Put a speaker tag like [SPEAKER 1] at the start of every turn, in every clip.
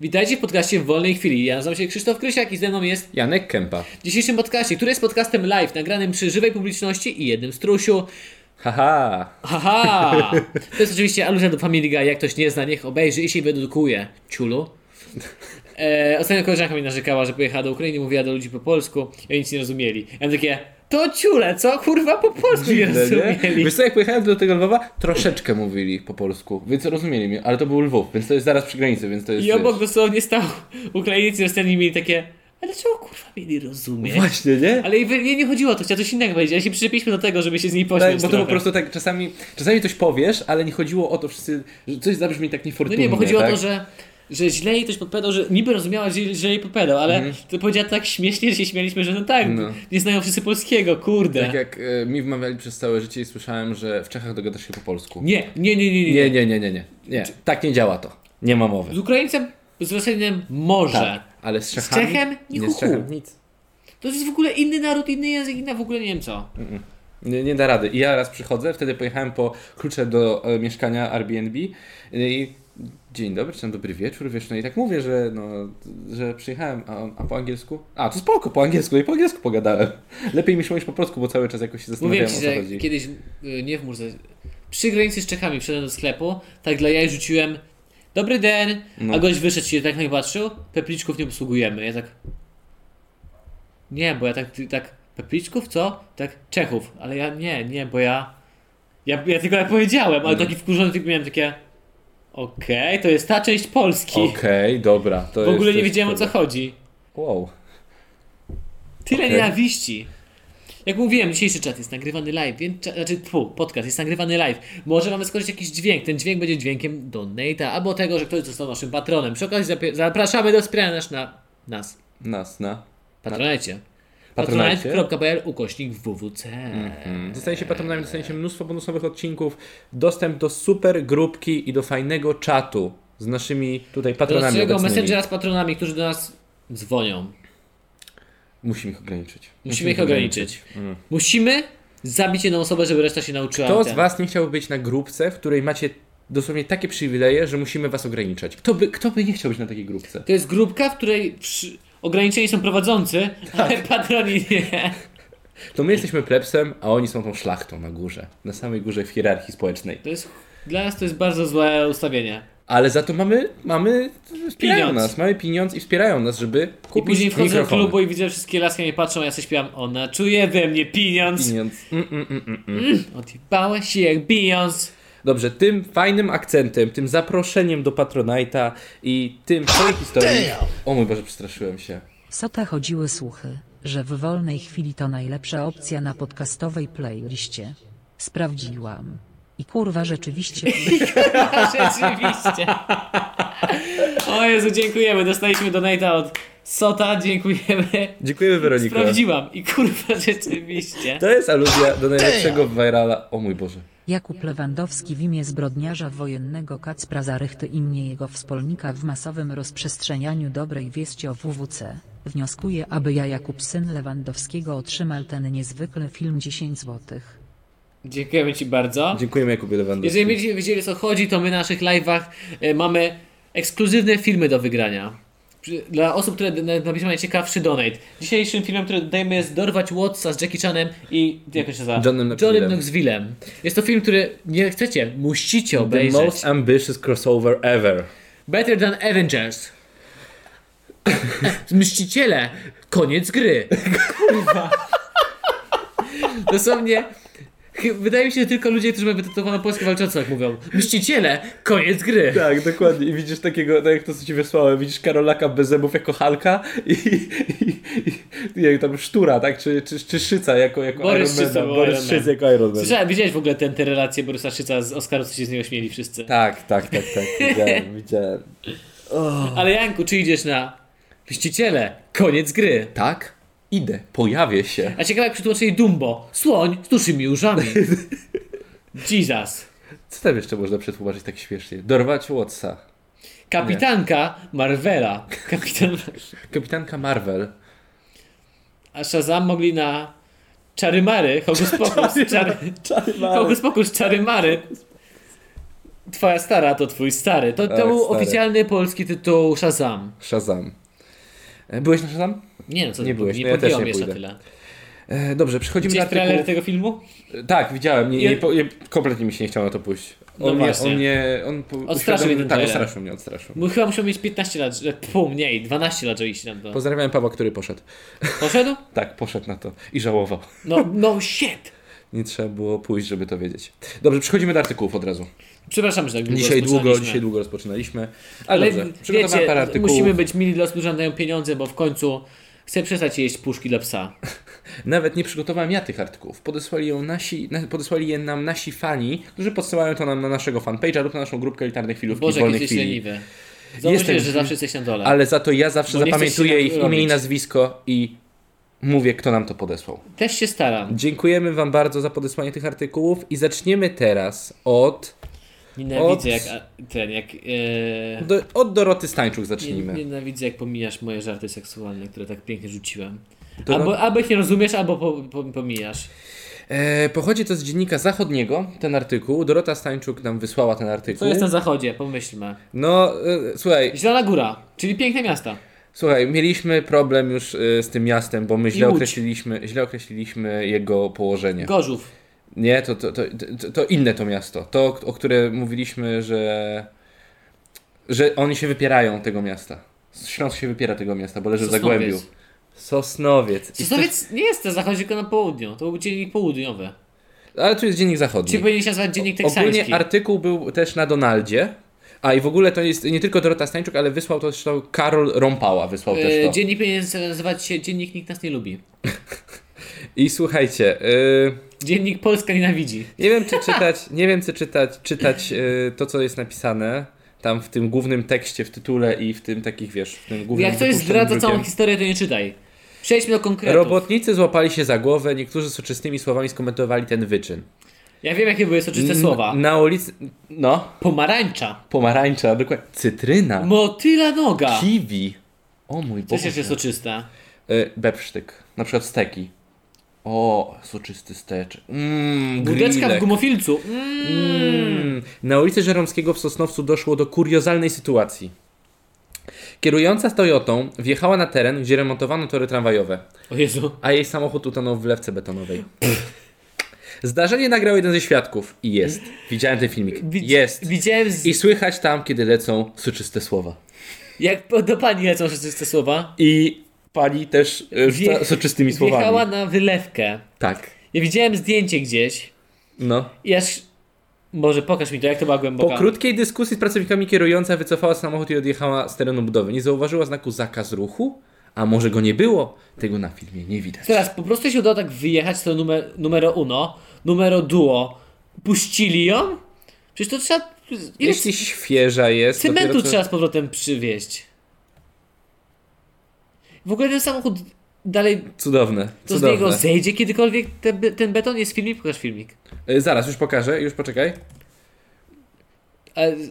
[SPEAKER 1] Witajcie w podcaście w wolnej chwili. Ja nazywam się Krzysztof Krysiak i ze mną jest
[SPEAKER 2] Janek Kępa.
[SPEAKER 1] w dzisiejszym podcaście, który jest podcastem live, nagranym przy żywej publiczności i jednym strusiu.
[SPEAKER 2] Haha.
[SPEAKER 1] Haha! To jest oczywiście aluzja do Family Guy. Jak ktoś nie zna, niech obejrzy i się wyedukuje. Ciulu. E, ostatnio koleżanka mi narzekała, że pojechała do Ukrainy, mówiła do ludzi po polsku i oni nic nie rozumieli. Ja mówię takie, to ciule, co? Kurwa, po polsku nie rozumieli.
[SPEAKER 2] Wiesz co, jak pojechałem do tego Lwowa, troszeczkę mówili po polsku, więc rozumieli mnie, ale to był Lwów, więc to jest zaraz przy granicy, więc to jest...
[SPEAKER 1] I obok
[SPEAKER 2] wiesz,
[SPEAKER 1] dosłownie stał Ukraińcy, Rosjanie i mieli takie, ale czego kurwa mieli rozumieć?
[SPEAKER 2] Właśnie, nie?
[SPEAKER 1] Ale i wy- nie, nie chodziło o to, chciała coś innego powiedzieć, ale się przyczepiliśmy do tego, żeby się z niej
[SPEAKER 2] Tak,
[SPEAKER 1] pośmiać
[SPEAKER 2] bo to
[SPEAKER 1] trochę.
[SPEAKER 2] po prostu tak czasami, czasami coś powiesz, ale nie chodziło o to wszyscy, że coś zabrzmi tak
[SPEAKER 1] No
[SPEAKER 2] niefortunnie,
[SPEAKER 1] nie, bo chodziło
[SPEAKER 2] tak?
[SPEAKER 1] o to, że, że źle jej ktoś podpowiadał, że niby rozumiała, że źle jej podpowiadał, ale to powiedziała tak śmiesznie, że się śmieliśmy, że no tak,
[SPEAKER 2] Mhm. No.
[SPEAKER 1] nie znają wszyscy polskiego, kurde.
[SPEAKER 2] Tak jak e, mi wmawiali przez całe życie i słyszałem, że w Czechach dogadasz się po polsku.
[SPEAKER 1] Nie, nie, nie, nie, nie,
[SPEAKER 2] nie, nie, nie, nie, nie. nie. Tak nie działa to. Nie ma mowy.
[SPEAKER 1] Z Ukraińcem, z Rosjaninem może.
[SPEAKER 2] Tak, ale z Czechami...
[SPEAKER 1] Czechem? Ni
[SPEAKER 2] nie
[SPEAKER 1] hu hu.
[SPEAKER 2] z Czechem nic.
[SPEAKER 1] To jest w ogóle inny naród, inny język, inna w ogóle nie wiem co.
[SPEAKER 2] Nie, nie da rady. I ja raz przychodzę, wtedy pojechałem po klucze do e, mieszkania Airbnb i dzień dobry, czy tam dobry wieczór, wiesz, no i tak mówię, że, no, że przyjechałem, a, on, a po angielsku? A, to spoko, po angielsku, i po angielsku pogadałem. Lepiej mi się mówić po polsku, bo cały czas jakoś się
[SPEAKER 1] Mówiłem
[SPEAKER 2] zastanawiałem,
[SPEAKER 1] ci,
[SPEAKER 2] o
[SPEAKER 1] że
[SPEAKER 2] co chodzi.
[SPEAKER 1] kiedyś, y, nie w Murze, przy granicy z Czechami wszedłem do sklepu, tak dla jaj rzuciłem Dobry den,
[SPEAKER 2] No.
[SPEAKER 1] a gość wyszedł i tak na mnie patrzył, pepliczków nie obsługujemy. Ja tak... Nie, bo ja tak, ty- tak, pepliczków, co? Tak, Czechów, ale ja nie, nie, bo ja... Ja, ja tylko tak powiedziałem,
[SPEAKER 2] No.
[SPEAKER 1] ale taki wkurzony typ miałem takie... Okej, to jest ta część Polski.
[SPEAKER 2] Okej, dobra. To
[SPEAKER 1] w ogóle
[SPEAKER 2] jest
[SPEAKER 1] nie
[SPEAKER 2] coś
[SPEAKER 1] wiedziałem o co
[SPEAKER 2] tego.
[SPEAKER 1] chodzi.
[SPEAKER 2] Wow.
[SPEAKER 1] Tyle
[SPEAKER 2] Okej.
[SPEAKER 1] nienawiści. Jak mówiłem, dzisiejszy czat jest nagrywany live, więc, cza- znaczy tfu, podcast jest nagrywany live. Może mamy skończyć jakiś dźwięk, ten dźwięk będzie dźwiękiem donate'a, albo tego, że ktoś został naszym patronem. Przy okazji zapie- zapraszamy do wspierania nas na nas,
[SPEAKER 2] Nas, na.
[SPEAKER 1] patronajcie.
[SPEAKER 2] Patronajcie?
[SPEAKER 1] patronite.pl ukośnik wwc.
[SPEAKER 2] Mm. Zostaniecie patronami, dostaniecie mnóstwo bonusowych odcinków, dostęp do super grupki i do fajnego czatu z naszymi tutaj patronami
[SPEAKER 1] Rozstrzego
[SPEAKER 2] obecnymi.
[SPEAKER 1] messengera z patronami, którzy do nas dzwonią.
[SPEAKER 2] Musimy ich ograniczyć.
[SPEAKER 1] Musimy ich ograniczyć. Musimy zabić jedną osobę, żeby reszta się nauczyła.
[SPEAKER 2] Kto z
[SPEAKER 1] ten-
[SPEAKER 2] Was nie chciałby być na grupce, w której macie dosłownie takie przywileje, że musimy Was ograniczać? Kto by, kto by nie chciał być na takiej grupce?
[SPEAKER 1] To jest grupka, w której przy... ograniczeni są prowadzący,
[SPEAKER 2] Tak.
[SPEAKER 1] ale patroni nie.
[SPEAKER 2] To my jesteśmy plebsem, a oni są tą szlachtą na górze. Na samej górze w hierarchii społecznej.
[SPEAKER 1] To jest, dla nas to jest bardzo złe ustawienie.
[SPEAKER 2] Ale za to mamy, mamy wspierają
[SPEAKER 1] Pieniądz.
[SPEAKER 2] nas, mamy pieniądz i wspierają nas, żeby
[SPEAKER 1] I
[SPEAKER 2] kupić
[SPEAKER 1] później wchodzę
[SPEAKER 2] mikrofon.
[SPEAKER 1] do klubu i widzę, że wszystkie laski mnie patrzą, a ja sobie śpiewam Ona czuje we mnie pieniądz,
[SPEAKER 2] Pieniądz. Mm, mm, mm, mm.
[SPEAKER 1] odjebałeś się jak bijąc.
[SPEAKER 2] Dobrze, tym fajnym akcentem, tym zaproszeniem do Patronite'a i tym tej historii... O mój Boże, przestraszyłem się.
[SPEAKER 3] Sota chodziły słuchy, że w wolnej chwili to najlepsza opcja na podcastowej playliście. Sprawdziłam. I kurwa rzeczywiście.
[SPEAKER 1] Tak, Rzeczywiście. O Jezu, dziękujemy. Dostaliśmy donata od Sota, dziękujemy.
[SPEAKER 2] Dziękujemy Weroniko.
[SPEAKER 1] Sprawdziłam i kurwa rzeczywiście.
[SPEAKER 2] To jest aluzja do najlepszego virala. O mój Boże.
[SPEAKER 3] Jakub Lewandowski w imię zbrodniarza wojennego Kacpra Zarychty i mnie jego wspólnika w masowym rozprzestrzenianiu dobrej wieści o WWC. Wnioskuję, aby ja Jakub syn Lewandowskiego otrzymał ten niezwykły film 10 złotych.
[SPEAKER 1] Dziękujemy Ci bardzo.
[SPEAKER 2] Dziękujemy Jakubie Lewandowski.
[SPEAKER 1] Jeżeli będziecie wiedzieli o co chodzi, to my na naszych live'ach e, mamy ekskluzywne filmy do wygrania. Przy- Dla osób, które d- na- napiszą najciekawszy donate. Dzisiejszym filmem, który dodajemy jest Dorwać Watsa z Jackie Chanem i jak on się nazywa?
[SPEAKER 2] Johnem Knoxvillem.
[SPEAKER 1] Johnem Knoxvillem. Jest to film, który nie chcecie, musicie
[SPEAKER 2] The
[SPEAKER 1] obejrzeć.
[SPEAKER 2] most ambitious crossover ever.
[SPEAKER 1] Better than Avengers. Mściciele, koniec gry. Kurwa. Dosłownie. chy- Wydaje mi się, że tylko ludzie, którzy mają wytytowaną Polskę walczącą, tak mówią. Mściciele, koniec gry.
[SPEAKER 2] Tak, dokładnie. I widzisz takiego, tak jak to co ci wysłałem, widzisz Karolaka bez zębów jako Halka i, i, i jak tam Sztura, tak? Czy, czy, czy Szyca jako, jako
[SPEAKER 1] Borys
[SPEAKER 2] Iron
[SPEAKER 1] Szyca
[SPEAKER 2] Man.
[SPEAKER 1] był Iron
[SPEAKER 2] Borys
[SPEAKER 1] Man.
[SPEAKER 2] Szyc jako Iron Man.
[SPEAKER 1] Słyszałem, widziałeś w ogóle tę tę relację Borysa Szyca z Oskarem, co się z niego śmieli wszyscy.
[SPEAKER 2] Tak, tak, tak, tak. Widziałem, widziałem.
[SPEAKER 1] Ale Janku, czy idziesz na Mściciele, koniec gry.
[SPEAKER 2] Tak? Idę. Pojawię się.
[SPEAKER 1] A ciekawe, jak przetłumaczyli Dumbo. Słoń z duszymi łzami. Jesus.
[SPEAKER 2] Co tam jeszcze można przetłumaczyć tak śmiesznie? Dorwać Watsa.
[SPEAKER 1] Kapitanka Marvela. Kapitan...
[SPEAKER 2] Kapitanka Marvel.
[SPEAKER 1] A Shazam mogli na czary mary, hokus pokus, czary,
[SPEAKER 2] Czary Marvel.
[SPEAKER 1] hokus pokus, czary mary. Twoja stara to twój stary. To, to
[SPEAKER 2] Tak,
[SPEAKER 1] był
[SPEAKER 2] stary.
[SPEAKER 1] oficjalny polski tytuł Shazam.
[SPEAKER 2] Shazam. E, Byłeś na Shazam?
[SPEAKER 1] Nie no, co
[SPEAKER 2] Nie
[SPEAKER 1] ty,
[SPEAKER 2] byłeś,
[SPEAKER 1] nie
[SPEAKER 2] no ja też
[SPEAKER 1] podjąłem
[SPEAKER 2] nie
[SPEAKER 1] jeszcze
[SPEAKER 2] pójdę.
[SPEAKER 1] tyle.
[SPEAKER 2] E, Dobrze, przechodzimy do
[SPEAKER 1] Widziałeś
[SPEAKER 2] artykułu.
[SPEAKER 1] trailer tego filmu?
[SPEAKER 2] E, Tak, widziałem. Nie,
[SPEAKER 1] Ja-
[SPEAKER 2] nie, po- nie, kompletnie mi się nie chciało na to pójść.
[SPEAKER 1] No
[SPEAKER 2] On, mnie,
[SPEAKER 1] właśnie.
[SPEAKER 2] on mnie... On po-
[SPEAKER 1] Odstraszył
[SPEAKER 2] uświadomił-
[SPEAKER 1] mnie ten
[SPEAKER 2] Tak,
[SPEAKER 1] trailer. No.
[SPEAKER 2] odstraszył mnie, odstraszył.
[SPEAKER 1] Bo chyba musiał mieć 15 lat, że- pół mniej, 12 lat, że iść na to.
[SPEAKER 2] Pozdrawiam Pawła, który poszedł.
[SPEAKER 1] Poszedł?
[SPEAKER 2] Tak, poszedł na to i żałował.
[SPEAKER 1] No, no shit!
[SPEAKER 2] Nie trzeba było pójść, żeby to wiedzieć. Dobrze, przechodzimy do artykułów od razu.
[SPEAKER 1] Przepraszam, że tak długo
[SPEAKER 2] Dzisiaj długo,
[SPEAKER 1] rozpoczynaliśmy.
[SPEAKER 2] dzisiaj długo rozpoczynaliśmy. Ale,
[SPEAKER 1] Ale
[SPEAKER 2] dobrze, przygotowałem
[SPEAKER 1] wiecie,
[SPEAKER 2] parę artykułów.
[SPEAKER 1] musimy być mili dla osób, które dają pieniądze, bo w końcu chcę przestać jeść puszki dla psa.
[SPEAKER 2] Nawet nie przygotowałem ja tych artykułów. Podesłali, ją nasi, na, podesłali je nam nasi fani, którzy podsyłają to nam na naszego fanpage'a lub na naszą grupkę elitarnych filmów i
[SPEAKER 1] Boże, jak
[SPEAKER 2] wolnych
[SPEAKER 1] jesteś
[SPEAKER 2] chwili.
[SPEAKER 1] leniwy. Zauważyłeś,
[SPEAKER 2] Jestem-
[SPEAKER 1] że zawsze jesteś na dole.
[SPEAKER 2] Ale za to ja zawsze
[SPEAKER 1] Tak. Bo nie chcesz
[SPEAKER 2] zapamiętuję
[SPEAKER 1] się
[SPEAKER 2] ich
[SPEAKER 1] robić.
[SPEAKER 2] imię i nazwisko i mówię, kto nam to podesłał.
[SPEAKER 1] Też się staram.
[SPEAKER 2] Dziękujemy Wam bardzo za podesłanie tych artykułów i zaczniemy teraz od,
[SPEAKER 1] Nienawidzę
[SPEAKER 2] Od-
[SPEAKER 1] jak a, ten, jak... e, Ee...
[SPEAKER 2] do, od Doroty Stańczuk zacznijmy.
[SPEAKER 1] Nienawidzę jak pomijasz moje żarty seksualne, które tak pięknie rzuciłem.
[SPEAKER 2] To-
[SPEAKER 1] Albo, albo ich nie rozumiesz, albo po, po, pomijasz.
[SPEAKER 2] E, pochodzi to z dziennika zachodniego, ten artykuł. Dorota Stańczuk nam wysłała ten
[SPEAKER 1] Co
[SPEAKER 2] artykuł.
[SPEAKER 1] jest na zachodzie? Pomyślmy.
[SPEAKER 2] No, e, słuchaj,
[SPEAKER 1] Zielona Góra, czyli piękne miasta.
[SPEAKER 2] Słuchaj, mieliśmy problem już y, z tym miastem, bo my źle
[SPEAKER 1] Łódź.
[SPEAKER 2] określiliśmy, źle określiliśmy jego położenie.
[SPEAKER 1] Gorzów.
[SPEAKER 2] Nie, to, to, to, to, to inne to miasto. To, o które mówiliśmy, że, że oni się wypierają tego miasta. Śląsk się wypiera tego miasta, bo leży w
[SPEAKER 1] Sosnowiec.
[SPEAKER 2] Zagłębiu. Sosnowiec. I
[SPEAKER 1] Sosnowiec nie jest na zachodzie, tylko na południu. To był dziennik południowy.
[SPEAKER 2] To, ale tu jest dziennik
[SPEAKER 1] Czy
[SPEAKER 2] zachodni.
[SPEAKER 1] powinien się nazywać dziennik teksański?
[SPEAKER 2] Ogólnie artykuł był też na Donaldzie. A i w ogóle to jest nie tylko Dorota Stańczuk, ale wysłał to też to Karol Rąpała. Wysłał też
[SPEAKER 1] E,
[SPEAKER 2] to.
[SPEAKER 1] dziennik powinien nazywać się Dziennik Nikt Nas Nie Lubi.
[SPEAKER 2] I słuchajcie... Y...
[SPEAKER 1] Dziennik Polska Nienawidzi.
[SPEAKER 2] Nie wiem, czy czytać, nie wiem, czy czytać, czytać y, to, co jest napisane tam w tym głównym tekście, w tytule i w tym takich, wiesz, w tym głównym
[SPEAKER 1] Jak ktoś
[SPEAKER 2] wypuszczonym
[SPEAKER 1] zdradza całą
[SPEAKER 2] drukiem.
[SPEAKER 1] historię, to nie czytaj. Przejdźmy do konkretów.
[SPEAKER 2] Robotnicy złapali się za głowę, niektórzy soczystymi słowami skomentowali ten wyczyn.
[SPEAKER 1] Ja wiem, jakie były soczyste
[SPEAKER 2] N-
[SPEAKER 1] słowa.
[SPEAKER 2] Na ulicy, no,
[SPEAKER 1] Pomarańcza.
[SPEAKER 2] pomarańcza, dokładnie, cytryna,
[SPEAKER 1] Motyla noga.
[SPEAKER 2] kiwi, o mój
[SPEAKER 1] Coś
[SPEAKER 2] Boże,
[SPEAKER 1] jeszcze soczyste.
[SPEAKER 2] y, bepsztyk, na przykład steki. O, soczysty stecz. Mmm,
[SPEAKER 1] Budeczka w
[SPEAKER 2] grillek.
[SPEAKER 1] gumofilcu. Mm.
[SPEAKER 2] Mm. Na ulicy Żeromskiego w Sosnowcu doszło do kuriozalnej sytuacji. Kierująca z Toyotą wjechała na teren, gdzie remontowano tory tramwajowe,
[SPEAKER 1] O Jezu.
[SPEAKER 2] a jej samochód utonął w lewce betonowej. Zdarzenie nagrał jeden ze świadków i jest. Widziałem ten filmik.
[SPEAKER 1] Widz-
[SPEAKER 2] Jest.
[SPEAKER 1] Widziałem, z...
[SPEAKER 2] I słychać tam, kiedy lecą soczyste słowa.
[SPEAKER 1] jak po- do pani lecą soczyste słowa.
[SPEAKER 2] I pani też e, rzuca
[SPEAKER 1] Wje-
[SPEAKER 2] soczystymi słowami.
[SPEAKER 1] Wjechała na wylewkę.
[SPEAKER 2] Tak.
[SPEAKER 1] Ja widziałem zdjęcie gdzieś
[SPEAKER 2] No.
[SPEAKER 1] i aż... Może pokaż mi to, jak to była głęboka.
[SPEAKER 2] Po krótkiej dyskusji z pracownikami kierująca wycofała samochód i odjechała z terenu budowy. Nie zauważyła znaku zakaz ruchu, a może go nie było? Tego na filmie nie widać.
[SPEAKER 1] Teraz po prostu się udało tak wyjechać, to numer, numero uno, numero duo. Puścili ją? Przecież to trzeba... Ile
[SPEAKER 2] Jeśli świeża jest.
[SPEAKER 1] Cementu
[SPEAKER 2] dopiero co-
[SPEAKER 1] trzeba z powrotem przywieźć. W ogóle ten samochód dalej.
[SPEAKER 2] Cudowne.
[SPEAKER 1] Co z
[SPEAKER 2] cudowne.
[SPEAKER 1] niego zejdzie kiedykolwiek? Te, be- ten beton jest filmik? Pokaż filmik.
[SPEAKER 2] Y, Zaraz, już pokażę, już poczekaj.
[SPEAKER 1] A z-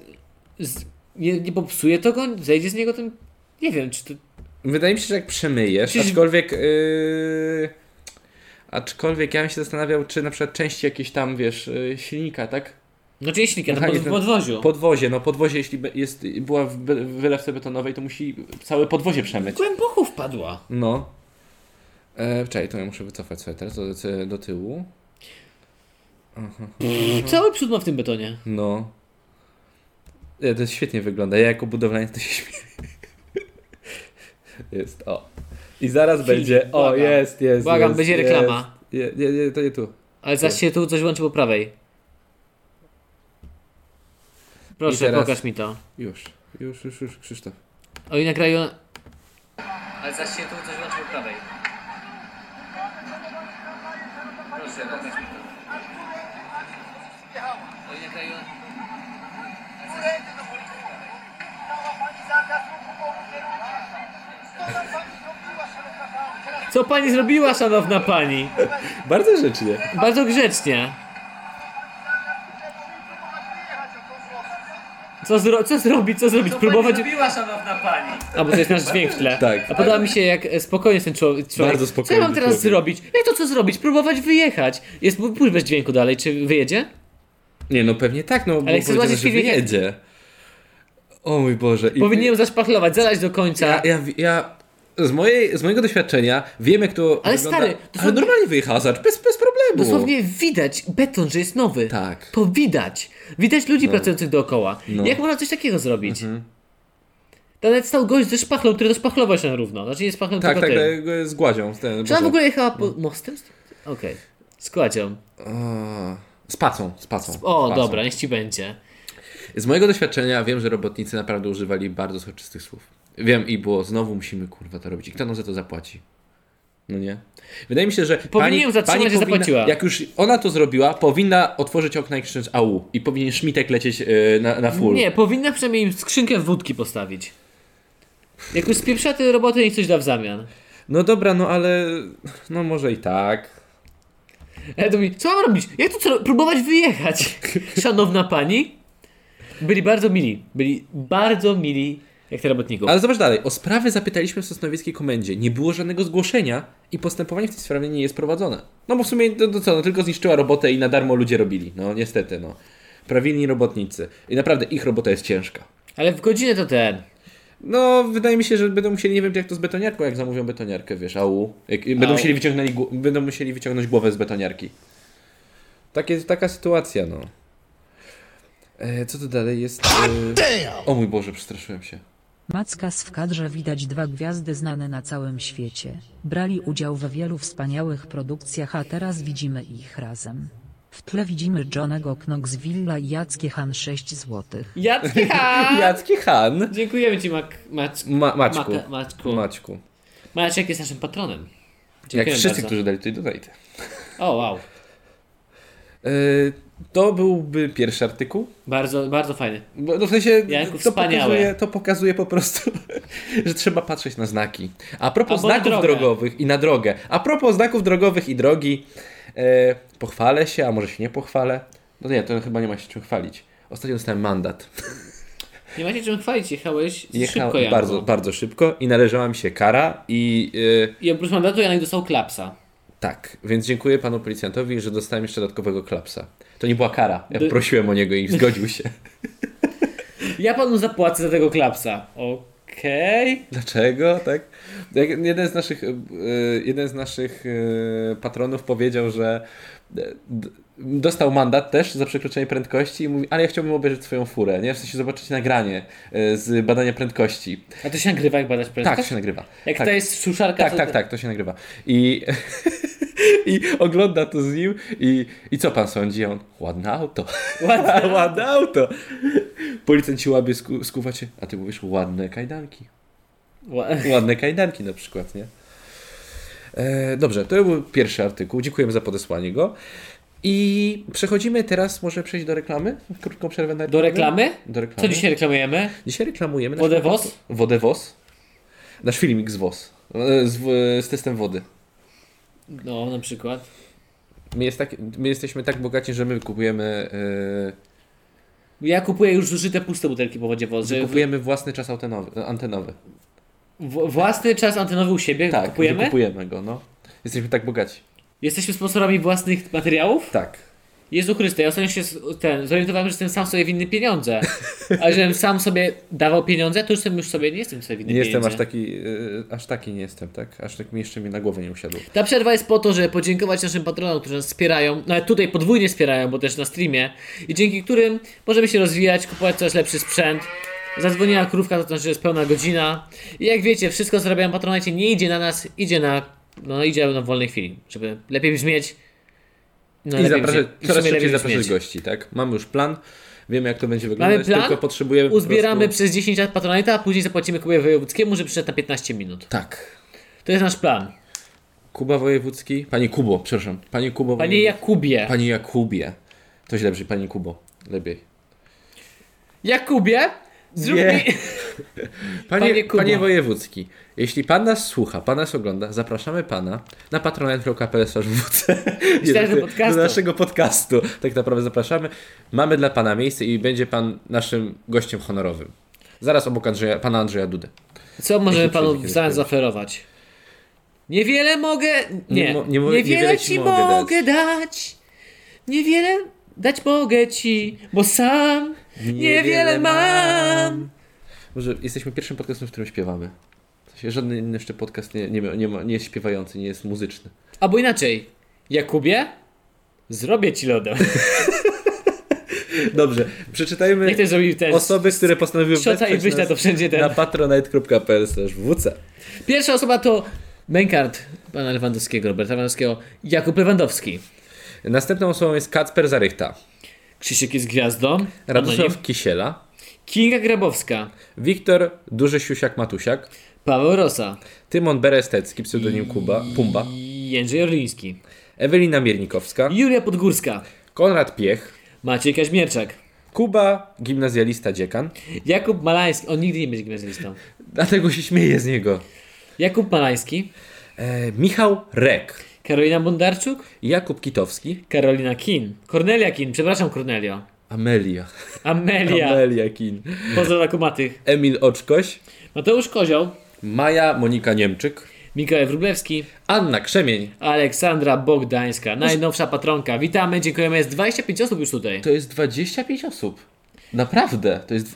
[SPEAKER 1] z, nie, nie popsuje to go? Zejdzie z niego ten. Nie wiem, czy to.
[SPEAKER 2] Wydaje mi się, że jak przemyjesz,
[SPEAKER 1] Czyż-
[SPEAKER 2] aczkolwiek. y, Aczkolwiek ja bym się zastanawiał, czy na przykład części jakieś tam, wiesz, y, silnika, tak?
[SPEAKER 1] No czy jeśli na pod,
[SPEAKER 2] Mechanizm-
[SPEAKER 1] w podwoziu.
[SPEAKER 2] Podwozie, no podwozie, jeśli be- jest, była w be- w wylewce betonowej, to musi całe podwozie przemyć.
[SPEAKER 1] Głęboko wpadła.
[SPEAKER 2] No. E, czekaj, to ja muszę wycofać sobie teraz do, do- do tyłu. Mhm.
[SPEAKER 1] Cały przód ma w tym betonie.
[SPEAKER 2] No. E, to świetnie wygląda. Ja jako budowlaniec to się śmieję. Jest, o. I zaraz
[SPEAKER 1] Film,
[SPEAKER 2] będzie. O,
[SPEAKER 1] błagam.
[SPEAKER 2] jest, jest.
[SPEAKER 1] Błagam,
[SPEAKER 2] jest,
[SPEAKER 1] będzie
[SPEAKER 2] jest.
[SPEAKER 1] reklama.
[SPEAKER 2] Je, nie, nie, to nie tu.
[SPEAKER 1] Ale zaś się tu coś łączy po prawej. Proszę,
[SPEAKER 2] I teraz-
[SPEAKER 1] pokaż mi to.
[SPEAKER 2] Już, już, już, już, Krzysztof.
[SPEAKER 1] Oni nagrają. Ale zaś się tu coś łączy po prawej. Proszę, pokaż mi to. Oni nagrają. Co pani zrobiła, szanowna pani?
[SPEAKER 2] Bardzo grzecznie.
[SPEAKER 1] Bardzo grzecznie. Co, zro co zrobić, co zrobić? Próbować...
[SPEAKER 4] Biła szanowna pani.
[SPEAKER 1] A bo to jest nasz dźwięk w tle.
[SPEAKER 2] Tak.
[SPEAKER 1] A podoba mi się, jak e, spokojny jest ten człowiek. człowiek.
[SPEAKER 2] Bardzo
[SPEAKER 1] Co ja
[SPEAKER 2] spokojny
[SPEAKER 1] mam teraz
[SPEAKER 2] człowiek.
[SPEAKER 1] zrobić? Jak to co zrobić? Próbować wyjechać. Jest pójdź bez dźwięku dalej, czy wyjedzie?
[SPEAKER 2] Nie, no pewnie tak, no bo
[SPEAKER 1] Ale chcę
[SPEAKER 2] powiedział,
[SPEAKER 1] zobaczyć
[SPEAKER 2] że
[SPEAKER 1] filmik.
[SPEAKER 2] wyjedzie. O mój Boże. I
[SPEAKER 1] Powinienem zaszpachlować, zalać do końca.
[SPEAKER 2] ja, ja, ja z, mojej, z mojego doświadczenia wiem, jak to
[SPEAKER 1] Ale
[SPEAKER 2] wygląda.
[SPEAKER 1] stary,
[SPEAKER 2] ale
[SPEAKER 1] dosłownie-
[SPEAKER 2] normalnie wyjechał Hazard, bez, bez problemu.
[SPEAKER 1] Dosłownie widać beton, że jest nowy.
[SPEAKER 2] Tak.
[SPEAKER 1] To widać. Widać ludzi pracujących dookoła.
[SPEAKER 2] No. Mhm.
[SPEAKER 1] Jak można coś takiego zrobić? To nawet stał gość ze szpachlą, który doszpachlował się na równo. Znaczy nie szpachlą,
[SPEAKER 2] Tak,
[SPEAKER 1] tylko
[SPEAKER 2] tak,
[SPEAKER 1] tym.
[SPEAKER 2] tak, No. go z gładzią. z Ten,
[SPEAKER 1] Czy ona w
[SPEAKER 2] Boże.
[SPEAKER 1] ogóle jechała po mostem? Okej. Z kładzią.
[SPEAKER 2] A, Z pacą, z pacą.
[SPEAKER 1] O,
[SPEAKER 2] z pacą.
[SPEAKER 1] dobra, niech ci będzie.
[SPEAKER 2] Z mojego doświadczenia wiem, że robotnicy naprawdę używali bardzo soczystych słów. Wiem i było, znowu musimy kurwa to robić. I kto nam za to zapłaci? No nie? Wydaje mi się, że
[SPEAKER 1] Powinien ją
[SPEAKER 2] pani,
[SPEAKER 1] zatrzymać,
[SPEAKER 2] pani
[SPEAKER 1] że zapłaciła.
[SPEAKER 2] Jak już ona to zrobiła, powinna otworzyć okna i krzyczeć au. I powinien szmitek lecieć e, na, na full.
[SPEAKER 1] Nie, powinna przynajmniej im skrzynkę wódki postawić. Jak już spieprza te roboty, niech coś da w zamian.
[SPEAKER 2] No dobra, no ale no może i tak.
[SPEAKER 1] Ale to mi, co mam robić? Jak tu co, próbować wyjechać? Szanowna pani? Byli bardzo mili. Byli bardzo mili jak te robotników.
[SPEAKER 2] Ale zobacz dalej. O sprawy zapytaliśmy w Sosnowieckiej Komendzie. Nie było żadnego zgłoszenia i postępowanie w tej sprawie nie jest prowadzone. No bo w sumie to, to co, no tylko zniszczyła robotę i na darmo ludzie robili. No niestety, no. Prawilni robotnicy. I naprawdę ich robota jest ciężka.
[SPEAKER 1] Ale w godzinę to ten.
[SPEAKER 2] No, wydaje mi się, że będą musieli, nie wiem jak to z betoniarką, jak zamówią betoniarkę, wiesz, au. Jak, będą,
[SPEAKER 1] Au.
[SPEAKER 2] musieli wyciągnęli, gł- będą musieli wyciągnąć głowę z betoniarki. Tak jest, taka sytuacja, no. E, co to dalej jest? E... O mój Boże, przestraszyłem się.
[SPEAKER 3] Mackas w kadrze widać dwa gwiazdy znane na całym świecie. Brali udział we wielu wspaniałych produkcjach, a teraz widzimy ich razem. W tle widzimy Johnego Knoxvilla i Jackie Han 6 zł.
[SPEAKER 1] Jacka!
[SPEAKER 2] Jacki Han.
[SPEAKER 1] Dziękujemy ci, Mac, Mac,
[SPEAKER 2] Ma- Maćku.
[SPEAKER 1] Maka- Maćku.
[SPEAKER 2] Maćku.
[SPEAKER 1] Maciek jest naszym patronem.
[SPEAKER 2] Jak
[SPEAKER 1] Dziękujemy
[SPEAKER 2] wszyscy,
[SPEAKER 1] bardzo.
[SPEAKER 2] którzy dali tutaj donate.
[SPEAKER 1] O, wow.
[SPEAKER 2] E, to byłby pierwszy artykuł.
[SPEAKER 1] Bardzo, bardzo fajny.
[SPEAKER 2] Bo, no w sensie
[SPEAKER 1] Janku,
[SPEAKER 2] to,
[SPEAKER 1] wspaniałe.
[SPEAKER 2] pokazuje, to pokazuje po prostu, że trzeba patrzeć na znaki. A propos
[SPEAKER 1] Albo na
[SPEAKER 2] znaków
[SPEAKER 1] drogę.
[SPEAKER 2] drogowych i na drogę. A propos znaków drogowych i drogi, e, pochwalę się, a może się nie pochwalę. No nie, to chyba nie ma się czym chwalić. Ostatnio dostałem mandat.
[SPEAKER 1] Nie macie czym chwalić, jechałeś
[SPEAKER 2] Jechałem
[SPEAKER 1] szybko Janku.
[SPEAKER 2] bardzo, bardzo szybko i należała mi się kara i e,
[SPEAKER 1] I oprócz mandatu Janek dostał klapsa.
[SPEAKER 2] tak. Więc dziękuję panu policjantowi, że dostałem jeszcze dodatkowego klapsa. To nie była kara. Ja
[SPEAKER 1] Dy-
[SPEAKER 2] prosiłem o niego i zgodził się.
[SPEAKER 1] Ja panu zapłacę za tego klapsa. Okej.
[SPEAKER 2] Dlaczego? Tak? Jak jeden z naszych, e, jeden z naszych e, patronów powiedział, że e, d- dostał mandat też za przekroczenie prędkości i mówi, ale ja chciałbym obejrzeć swoją furę, nie? W sensie zobaczyć nagranie e, z badania prędkości.
[SPEAKER 1] A to się nagrywa, jak badać prędkość?
[SPEAKER 2] Tak, to się nagrywa.
[SPEAKER 1] Jak
[SPEAKER 2] tak.
[SPEAKER 1] to jest suszarka,
[SPEAKER 2] Tak,
[SPEAKER 1] to...
[SPEAKER 2] tak, tak, to się nagrywa. I, I ogląda to z nim i, i co pan sądzi? A On, ładne auto.
[SPEAKER 1] Ładne
[SPEAKER 2] ładne auto. Policjant ci łabie sku, skuwacie, a ty mówisz, ładne kajdanki.
[SPEAKER 1] Ła-
[SPEAKER 2] Ładne kajdanki na przykład, nie? E, dobrze, to był pierwszy artykuł. Dziękujemy za podesłanie go. I przechodzimy teraz, może przejść do reklamy? Krótką przerwę na
[SPEAKER 1] Do reklamy?
[SPEAKER 2] Do reklamy.
[SPEAKER 1] Co dzisiaj reklamujemy?
[SPEAKER 2] Dzisiaj reklamujemy nasz-
[SPEAKER 1] Wodę WOS?
[SPEAKER 2] Wodę WOS. Nasz filmik z WOS. E, Z, w- z testem wody.
[SPEAKER 1] No, na przykład.
[SPEAKER 2] My, jest tak, my jesteśmy tak bogaci, że my kupujemy,
[SPEAKER 1] Ja kupuję już zużyte puste butelki po wodzie WOS,
[SPEAKER 2] e,
[SPEAKER 1] że w-
[SPEAKER 2] kupujemy własny czas antenowy. antenowy.
[SPEAKER 1] w- własny czas antenowy u siebie
[SPEAKER 2] Tak,
[SPEAKER 1] kupujemy?
[SPEAKER 2] kupujemy go, no. Jesteśmy tak bogaci.
[SPEAKER 1] Jesteśmy sponsorami własnych materiałów?
[SPEAKER 2] Tak.
[SPEAKER 1] Jezu Chryste, ja ostatnio się z- ten, zorientowałem, że jestem sam sobie winny pieniądze. A żebym sam sobie dawał pieniądze, to już, jestem, już sobie nie jestem sobie winny
[SPEAKER 2] Nie
[SPEAKER 1] pieniędzy.
[SPEAKER 2] jestem aż taki, y, aż taki nie jestem, tak? Aż tak mi jeszcze mi na głowę nie usiadło.
[SPEAKER 1] Ta przerwa jest po to, żeby podziękować naszym patronom, którzy nas wspierają, nawet tutaj podwójnie wspierają, bo też na streamie, i dzięki którym możemy się rozwijać, kupować coraz lepszy sprzęt. Zadzwoniła krówka, to znaczy, że jest pełna godzina. I jak wiecie, wszystko co zarabiają patronacie nie idzie na nas, idzie na, no idzie na wolnej chwili, żeby lepiej brzmieć. No,
[SPEAKER 2] I
[SPEAKER 1] lepiej
[SPEAKER 2] zapraszać,
[SPEAKER 1] brzmieć. I w
[SPEAKER 2] coraz
[SPEAKER 1] sumie
[SPEAKER 2] szybciej
[SPEAKER 1] lepiej
[SPEAKER 2] zapraszać
[SPEAKER 1] brzmieć.
[SPEAKER 2] gości, tak? Mamy już plan, wiemy jak to będzie wyglądać,
[SPEAKER 1] plan,
[SPEAKER 2] tylko potrzebujemy po
[SPEAKER 1] Uzbieramy
[SPEAKER 2] prostu...
[SPEAKER 1] przez 10 lat patronata, a później zapłacimy Kubie Wojewódzkiemu, żeby przyszedł na 15 minut.
[SPEAKER 2] Tak.
[SPEAKER 1] To jest nasz plan.
[SPEAKER 2] Kuba Wojewódzki, Panie Kubo, przepraszam, Panie Kubo
[SPEAKER 1] Panie Jakubie.
[SPEAKER 2] Mm. Panie Jakubie. To źle brzmi, Panie Kubo, lepiej.
[SPEAKER 1] Jakubie? Zrób
[SPEAKER 2] Nie.
[SPEAKER 1] mi...
[SPEAKER 2] Panie,
[SPEAKER 1] Panie
[SPEAKER 2] panie,
[SPEAKER 1] Kubo.
[SPEAKER 2] Wojewódzki, jeśli Pan nas słucha, Pan nas ogląda, zapraszamy Pana na patronite.pl
[SPEAKER 1] Myślałem, że podcastu.
[SPEAKER 2] do naszego podcastu. Tak naprawdę zapraszamy. Mamy dla Pana miejsce i będzie Pan naszym gościem honorowym. Zaraz obok Andrzeja, Pana Andrzeja Dudy.
[SPEAKER 1] Co możemy
[SPEAKER 2] Jeśli
[SPEAKER 1] panu
[SPEAKER 2] przyjdzie kiedyś
[SPEAKER 1] zamiast
[SPEAKER 2] kiedyś.
[SPEAKER 1] zaoferować? Niewiele mogę. Nie,
[SPEAKER 2] Nie mo- nie mo-
[SPEAKER 1] niewiele ci mogę dać. Niewiele Dać mogę ci, bo sam niewiele mam.
[SPEAKER 2] Może jesteśmy pierwszym podcastem, w którym śpiewamy. W sensie żaden inny jeszcze podcast nie, nie, ma- nie, ma, nie jest śpiewający, nie jest muzyczny.
[SPEAKER 1] Albo inaczej, Jakubie, zrobię ci lodem.
[SPEAKER 2] Dobrze, przeczytajmy
[SPEAKER 1] Jak też zrobił ten.
[SPEAKER 2] osoby, które postanowiły
[SPEAKER 1] Szota i
[SPEAKER 2] wesprzeć
[SPEAKER 1] wyślę
[SPEAKER 2] nas
[SPEAKER 1] to wszędzie ten.
[SPEAKER 2] na patronite.pl/wc.
[SPEAKER 1] Pierwsza osoba to Menkart pana Lewandowskiego, Roberta Lewandowskiego, Jakub Lewandowski.
[SPEAKER 2] Następną osobą jest Kacper Zarychta,
[SPEAKER 1] Krzysiek jest gwiazdą. Anonim.
[SPEAKER 2] Radosław Kisiela,
[SPEAKER 1] Kinga Grabowska.
[SPEAKER 2] Wiktor Duży Siusiak Matusiak,
[SPEAKER 1] Paweł Rosa.
[SPEAKER 2] Tymon Berestecki, pseudonim Kuba, Pumba,
[SPEAKER 1] Jędrzej Orliński.
[SPEAKER 2] Ewelina Miernikowska,
[SPEAKER 1] Julia Podgórska.
[SPEAKER 2] Konrad Piech,
[SPEAKER 1] Maciej Kaźmierczak.
[SPEAKER 2] Kuba, gimnazjalista dziekan,
[SPEAKER 1] Jakub Malański. On nigdy nie będzie gimnazjalistą.
[SPEAKER 2] dlatego się śmieje z niego.
[SPEAKER 1] Jakub Malański.
[SPEAKER 2] E, Michał Rek,
[SPEAKER 1] Karolina Bondarczuk.
[SPEAKER 2] Jakub Kitowski,
[SPEAKER 1] Karolina Kin. Kornelia Kin. Przepraszam, Kornelio.
[SPEAKER 2] Amelia,
[SPEAKER 1] Amelia.
[SPEAKER 2] Amelia Kin,
[SPEAKER 1] Pozdro dla kumatych.
[SPEAKER 2] Emil Oczkoś,
[SPEAKER 1] Mateusz Kozioł.
[SPEAKER 2] Maja Monika Niemczyk,
[SPEAKER 1] Mikołaj Wróblewski.
[SPEAKER 2] Anna Krzemień.
[SPEAKER 1] Aleksandra Bogdańska, najnowsza patronka. Witamy, dziękujemy. Jest 25 osób już tutaj.
[SPEAKER 2] To jest 25 osób. Naprawdę, to jest...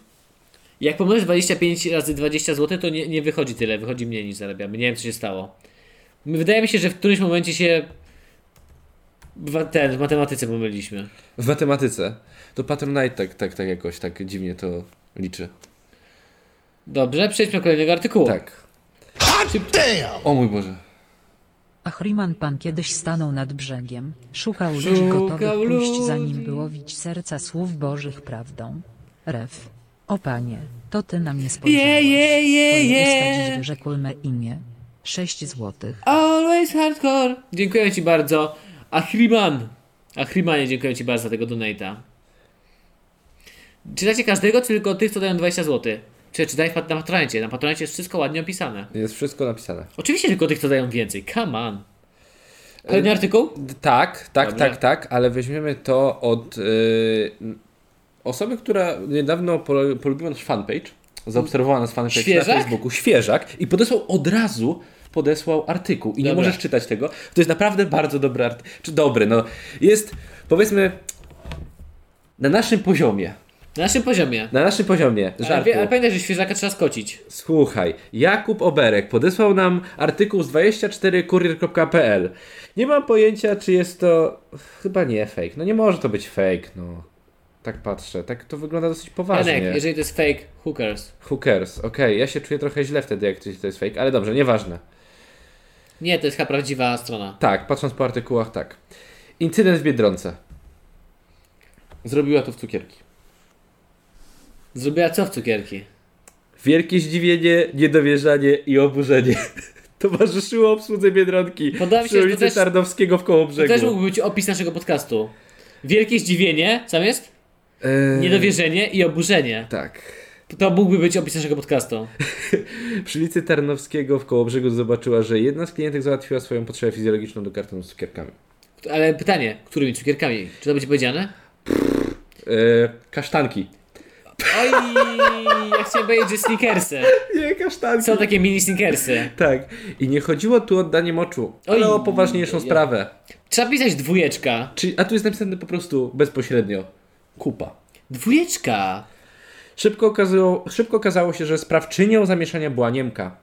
[SPEAKER 1] Jak pomnożysz 25 razy 20 zł, to nie, nie wychodzi tyle, wychodzi mniej niż zarabiamy. Nie wiem, co się stało. My- Wydaje mi się, że w którymś momencie się wa- ten, w matematyce pomyliliśmy.
[SPEAKER 2] W matematyce to Patronite tak, tak, tak jakoś tak dziwnie to liczy.
[SPEAKER 1] Dobrze, przejdźmy do kolejnego artykułu.
[SPEAKER 2] Tak. O mój Boże.
[SPEAKER 3] Achriman pan kiedyś stanął nad brzegiem, szukał ludzi gotowych
[SPEAKER 1] Szukał
[SPEAKER 3] pójść za
[SPEAKER 1] ludzi.
[SPEAKER 3] nim by łowić serca słów bożych prawdą. Ref. O panie, to ty na mnie spojrzałeś.
[SPEAKER 1] Je, je, je,
[SPEAKER 3] Twoje
[SPEAKER 1] je.
[SPEAKER 3] usta dziś wyrzekły me imię. 6 złotych.
[SPEAKER 1] Always hardcore. Dziękuję Ci bardzo. Achriman. Achrimanie, dziękuję Ci bardzo za tego donate'a. Czytacie każdego, czy tylko tych, co dają 20 zł? Czy czytaj w pat- na patronecie? Na patronecie jest wszystko ładnie opisane.
[SPEAKER 2] Jest wszystko napisane.
[SPEAKER 1] Oczywiście tylko tych, co dają więcej. Come on. Kolejny artykuł?
[SPEAKER 2] D- Tak, tak,
[SPEAKER 1] Dobra.
[SPEAKER 2] tak, tak, ale weźmiemy to od y, osoby, która niedawno pol- polubiła nasz fanpage, zaobserwowała nas fanpage na
[SPEAKER 1] Świeżak?
[SPEAKER 2] Facebooku, świeżak, i podesłał od razu, podesłał artykuł. I nie
[SPEAKER 1] Dobra.
[SPEAKER 2] możesz czytać tego. To jest naprawdę bardzo dobry artykuł. Czy dobry, no. Jest, powiedzmy, na naszym poziomie.
[SPEAKER 1] Na naszym poziomie.
[SPEAKER 2] Na naszym poziomie
[SPEAKER 1] Ale,
[SPEAKER 2] żartu.
[SPEAKER 1] wie- ale pamiętaj, że świeżaka trzeba skocić.
[SPEAKER 2] Słuchaj, Jakub Oberek podesłał nam artykuł z 24kurier.pl. Nie mam pojęcia, czy jest to. Chyba nie fake. No nie może to być fake, no. Tak patrzę, tak to wygląda dosyć poważnie.
[SPEAKER 1] Anek, jeżeli to jest fake, hookers.
[SPEAKER 2] Hookers, okej, ja się czuję trochę źle wtedy, jak to jest fake, ale dobrze, nieważne.
[SPEAKER 1] Nie, to jest chyba prawdziwa strona.
[SPEAKER 2] Tak, patrząc po artykułach, tak. Incydent w Biedronce. Zrobiła to w cukierki.
[SPEAKER 1] Zrobiła co w cukierki?
[SPEAKER 2] Wielkie zdziwienie, niedowierzanie i oburzenie towarzyszyło obsłudze Biedronki
[SPEAKER 1] Podoba mi się,
[SPEAKER 2] przy
[SPEAKER 1] że to
[SPEAKER 2] ulicy
[SPEAKER 1] też-
[SPEAKER 2] Tarnowskiego w
[SPEAKER 1] To
[SPEAKER 2] Kołobrzegu.
[SPEAKER 1] też mógłby być opis naszego podcastu. Wielkie zdziwienie, co jest?
[SPEAKER 2] Eee,
[SPEAKER 1] Niedowierzenie i oburzenie.
[SPEAKER 2] Tak.
[SPEAKER 1] To mógłby być opis naszego podcastu.
[SPEAKER 2] Przy ulicy Tarnowskiego w Kołobrzegu zobaczyła, że jedna z klientek załatwiła swoją potrzebę fizjologiczną do kartonu z cukierkami.
[SPEAKER 1] Ale pytanie, którymi cukierkami? Czy to będzie powiedziane?
[SPEAKER 2] Eee, kasztanki.
[SPEAKER 1] Oj, ja chciałem powiedzieć, że sneakersy.
[SPEAKER 2] Nie, kasztanki.
[SPEAKER 1] Są takie mini sneakersy.
[SPEAKER 2] Tak. I nie chodziło tu o oddanie moczu, ale
[SPEAKER 1] Oj,
[SPEAKER 2] o poważniejszą
[SPEAKER 1] ja-
[SPEAKER 2] sprawę.
[SPEAKER 1] Trzeba pisać dwójeczka.
[SPEAKER 2] Czyli, a tu jest napisane po prostu bezpośrednio. Kupa.
[SPEAKER 1] Dwójeczka!
[SPEAKER 2] Szybko okazało, szybko okazało się, że sprawczynią zamieszania była Niemka.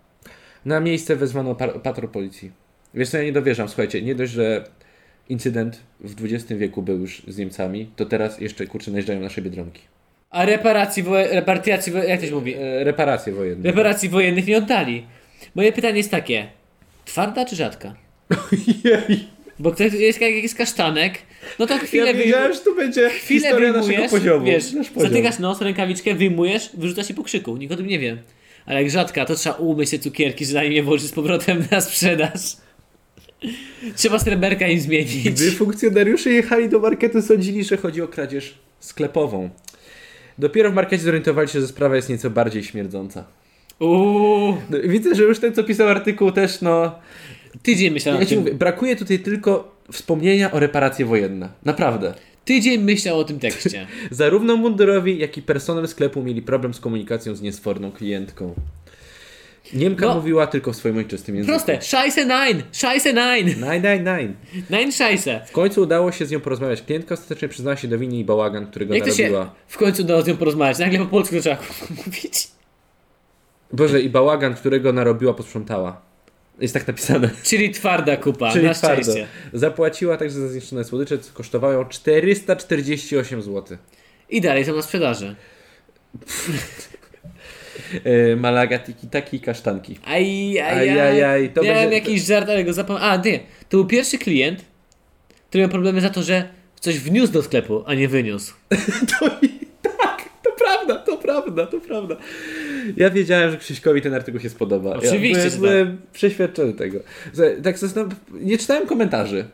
[SPEAKER 2] Na miejsce wezwano par- patrol policji. Wiesz co, ja nie dowierzam, słuchajcie, nie dość, że incydent w XX wieku był już z Niemcami, to teraz jeszcze, kurczę, najeżdżają nasze Biedronki.
[SPEAKER 1] A reparacji, wo- repartiacji, wo- jak to się mówi?
[SPEAKER 2] E, reparacje wojenne.
[SPEAKER 1] Reparacji wojennych nie oddali. Moje pytanie jest takie. Twarda czy rzadka?
[SPEAKER 2] Jej,
[SPEAKER 1] Bo ktoś jest, jak jest kasztanek, no to chwilę
[SPEAKER 2] ja
[SPEAKER 1] wyj-
[SPEAKER 2] wiedziałem, że tu będzie
[SPEAKER 1] Chwilę
[SPEAKER 2] historia naszego
[SPEAKER 1] wyjmujesz,
[SPEAKER 2] poziomu.
[SPEAKER 1] wiesz,
[SPEAKER 2] Nasz poziom.
[SPEAKER 1] zatykasz nos, rękawiczkę, wyjmujesz, wyrzuca się po krzyku, nikt o tym nie wie. Ale jak rzadka, to trzeba umyć te cukierki, zanim je włożyć z powrotem na sprzedaż. Trzeba sreberka im zmienić.
[SPEAKER 2] Gdy funkcjonariusze jechali do marketu, sądzili, że chodzi o kradzież sklepową. Dopiero w markecie zorientowali się, że sprawa jest nieco bardziej śmierdząca.
[SPEAKER 1] Uuu,
[SPEAKER 2] No, Widzę, że już ten, co pisał artykuł, też no...
[SPEAKER 1] tydzień myślał
[SPEAKER 2] Ja
[SPEAKER 1] o
[SPEAKER 2] ci
[SPEAKER 1] tym.
[SPEAKER 2] mówię, brakuje tutaj tylko wspomnienia o reparacje wojenne. Naprawdę.
[SPEAKER 1] Tydzień myślał o tym tekście.
[SPEAKER 2] Zarówno mundurowi, jak i personel sklepu mieli problem z komunikacją z niesforną klientką. Niemka
[SPEAKER 1] No.
[SPEAKER 2] mówiła tylko w swoim ojczystym języku.
[SPEAKER 1] Proste, Scheiße nein, Scheiße nein,
[SPEAKER 2] Nine, nine, nine.
[SPEAKER 1] nein Scheiße.
[SPEAKER 2] W końcu udało się z nią porozmawiać. Klientka ostatecznie przyznała się do winy i bałagan, którego
[SPEAKER 1] Jak to
[SPEAKER 2] narobiła.
[SPEAKER 1] się w końcu udało z nią porozmawiać? Nagle po polsku zaczęła mówić.
[SPEAKER 2] Boże, i bałagan, którego narobiła, posprzątała. Jest tak napisane.
[SPEAKER 1] Czyli twarda kupa,
[SPEAKER 2] Czyli
[SPEAKER 1] na
[SPEAKER 2] twardo.
[SPEAKER 1] szczęście.
[SPEAKER 2] Zapłaciła także za zniszczone słodycze, co kosztowały ją 448 zł.
[SPEAKER 1] I dalej są na sprzedaży.
[SPEAKER 2] Yy, Malaga, tiki taki i kasztanki.
[SPEAKER 1] Aj, aj,
[SPEAKER 2] Aj,
[SPEAKER 1] aj,
[SPEAKER 2] aj, aj, to
[SPEAKER 1] Miałem
[SPEAKER 2] będzie-
[SPEAKER 1] jakiś żart, ale go zapomniałem. A, nie. To był pierwszy klient, który miał problemy za to, że coś wniósł do sklepu, a nie wyniósł.
[SPEAKER 2] To i tak, to prawda, to prawda, to prawda. Ja wiedziałem, że Krzyśkowi ten artykuł się spodoba.
[SPEAKER 1] Oczywiście,
[SPEAKER 2] Ja
[SPEAKER 1] że tak.
[SPEAKER 2] byłem, byłem przeświadczony tego. Słuchaj, Tak zastanaw... nie czytałem komentarzy.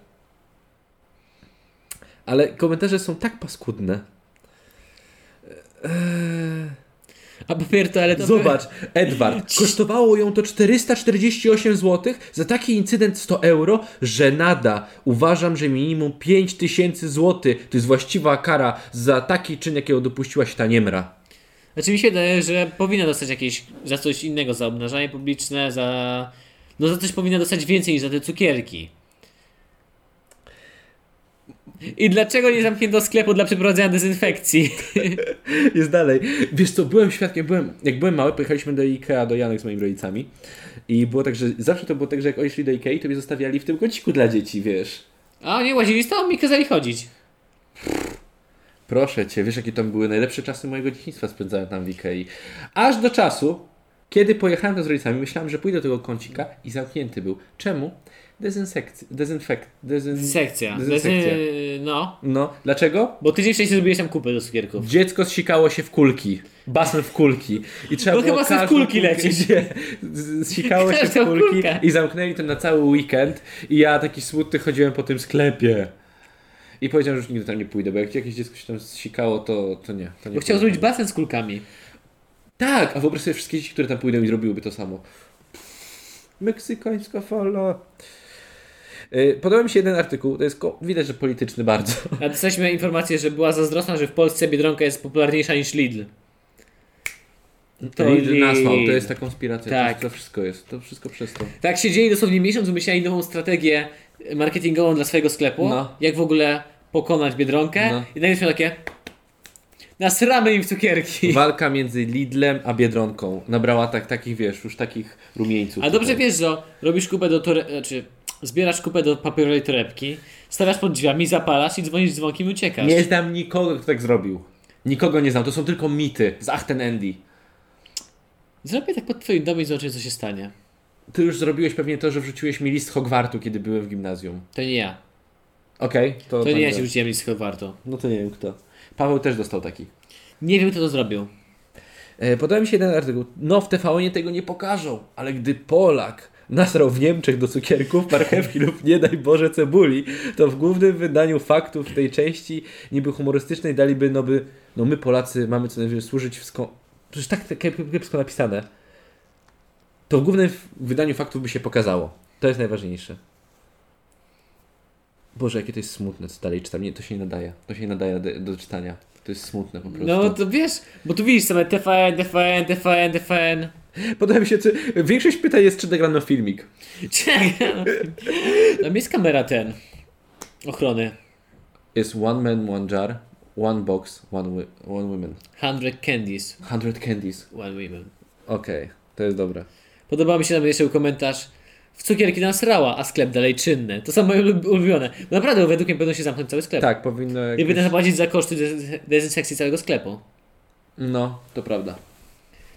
[SPEAKER 2] Ale komentarze są tak paskudne.
[SPEAKER 1] A papier toaletowy...
[SPEAKER 2] Zobacz, Edward, kosztowało ją to 448 zł, za taki incydent 100 euro, żenada. Uważam, że minimum 5000 zł to jest właściwa kara za taki czyn, jakiego dopuściła się ta niemra.
[SPEAKER 1] Znaczy mi się wydaje, że powinna dostać jakieś za coś innego, za obnażanie publiczne, za... No za coś powinna dostać więcej niż za te cukierki. I dlaczego nie zamknięto sklepu dla przeprowadzenia dezynfekcji?
[SPEAKER 2] Jest dalej. Wiesz co, byłem świadkiem, byłem, jak byłem mały, pojechaliśmy do Ikea, do Janek z moimi rodzicami i było tak, że zawsze to było tak, że jak oni szli do Ikei, to mnie zostawiali w tym kąciku dla dzieci, wiesz.
[SPEAKER 1] A nie łazili z tobą i kazali chodzić.
[SPEAKER 2] Proszę Cię, wiesz jakie tam były najlepsze czasy mojego dzieciństwa spędzałem tam w Ikei. Aż do czasu, kiedy pojechałem tam z rodzicami, myślałem, że pójdę do tego kącika i zamknięty był. Czemu? Dezynsekcja, dezynfekt, dezyn...
[SPEAKER 1] Sekcja.
[SPEAKER 2] Dezynsekcja.
[SPEAKER 1] Dezy... No.
[SPEAKER 2] No, dlaczego?
[SPEAKER 1] Bo tydzień wcześniej zrobiłeś tam kupę do cukierków.
[SPEAKER 2] Dziecko sikało się w kulki. Basen w kulki. I trzeba
[SPEAKER 1] No
[SPEAKER 2] było
[SPEAKER 1] chyba sobie w
[SPEAKER 2] każdą
[SPEAKER 1] kulki
[SPEAKER 2] kulkę-
[SPEAKER 1] lecieć.
[SPEAKER 2] Nie. Z- z- Sikało się w
[SPEAKER 1] Każdą
[SPEAKER 2] kulki
[SPEAKER 1] kulkę.
[SPEAKER 2] i zamknęli to na cały weekend i ja taki smutny chodziłem po tym sklepie. I powiedziałem, że już nigdy tam nie pójdę, bo jak jakieś dziecko się tam sikało, to, to nie. To nie
[SPEAKER 1] Bo chciał
[SPEAKER 2] pójdę.
[SPEAKER 1] zrobić basen z kulkami.
[SPEAKER 2] Tak, a wyobraź sobie wszystkie dzieci, które tam pójdą i zrobiłyby to samo. Meksykańska fala. Yy, Podoba mi się jeden artykuł, to jest ko- widać, że polityczny bardzo.
[SPEAKER 1] A dostaliśmy informację, że była zazdrosna, że w Polsce Biedronka jest popularniejsza niż Lidl. To
[SPEAKER 2] Lidl nasłał, to
[SPEAKER 1] Lidl.
[SPEAKER 2] jest ta konspiracja,
[SPEAKER 1] Tak.
[SPEAKER 2] to, to wszystko jest, to wszystko przez to.
[SPEAKER 1] Tak siedzieli dosłownie miesiąc, wymyślali nową strategię marketingową dla swojego sklepu,
[SPEAKER 2] No.
[SPEAKER 1] jak w ogóle pokonać Biedronkę
[SPEAKER 2] No.
[SPEAKER 1] i nagle miał takie nasramy im w cukierki.
[SPEAKER 2] Walka między Lidlem a Biedronką nabrała tak, takich, wiesz, już takich rumieńców.
[SPEAKER 1] A dobrze
[SPEAKER 2] tutaj.
[SPEAKER 1] wiesz, że robisz kupę do tore... znaczy zbierasz kupę do papierowej torebki, stawiasz pod drzwiami, zapalasz i dzwonisz dzwonkiem i uciekasz.
[SPEAKER 2] Nie znam nikogo, kto tak zrobił. Nikogo nie znam, to są tylko mity z Achten Andy.
[SPEAKER 1] Zrobię tak pod twoim domem i zobaczę co się stanie.
[SPEAKER 2] Ty już zrobiłeś pewnie to, że wrzuciłeś mi list Hogwartu, kiedy byłem w gimnazjum.
[SPEAKER 1] To nie ja.
[SPEAKER 2] Okej, to... tak
[SPEAKER 1] To nie ja ci rzuciłem nic warto.
[SPEAKER 2] No to nie wiem kto. Paweł też dostał taki.
[SPEAKER 1] Nie wiem kto to zrobił.
[SPEAKER 2] E, Podoba mi się jeden artykuł. No w TVN tego nie pokażą, ale gdy Polak nasrał w Niemczech do cukierków, marchewki lub nie daj Boże cebuli, to w głównym wydaniu faktów tej części niby humorystycznej daliby no by, no my Polacy mamy co najwyżej służyć w sko... Przecież tak te kiep- kiepsko napisane. To w głównym f- wydaniu faktów by się pokazało. To jest najważniejsze. Boże, jakie to jest smutne, co dalej czytam. Nie, to się nie nadaje. To się nie nadaje do, do czytania. To jest smutne po prostu.
[SPEAKER 1] No to wiesz, bo tu widzisz same TFN, TFN, TFN, TFN.
[SPEAKER 2] Podoba mi się, czy większość pytań jest, czy nagrano filmik.
[SPEAKER 1] Czekaj. Tam jest kamera ten. Ochrony.
[SPEAKER 2] Jest one man, one jar, one box, one, wi- one woman.
[SPEAKER 1] 100 candies,
[SPEAKER 2] 100 candies.
[SPEAKER 1] one women.
[SPEAKER 2] Okej, to jest dobre.
[SPEAKER 1] Podobał mi się tam jeszcze był komentarz. W cukierki nas rała, a sklep dalej czynny. To są moje ulub- ulubione. Bo naprawdę według mnie powinno się zamknąć cały sklep.
[SPEAKER 2] Tak, powinno
[SPEAKER 1] I będę
[SPEAKER 2] jakoś...
[SPEAKER 1] zapłacić za koszty dez- dezynsekcji całego sklepu.
[SPEAKER 2] No, to prawda.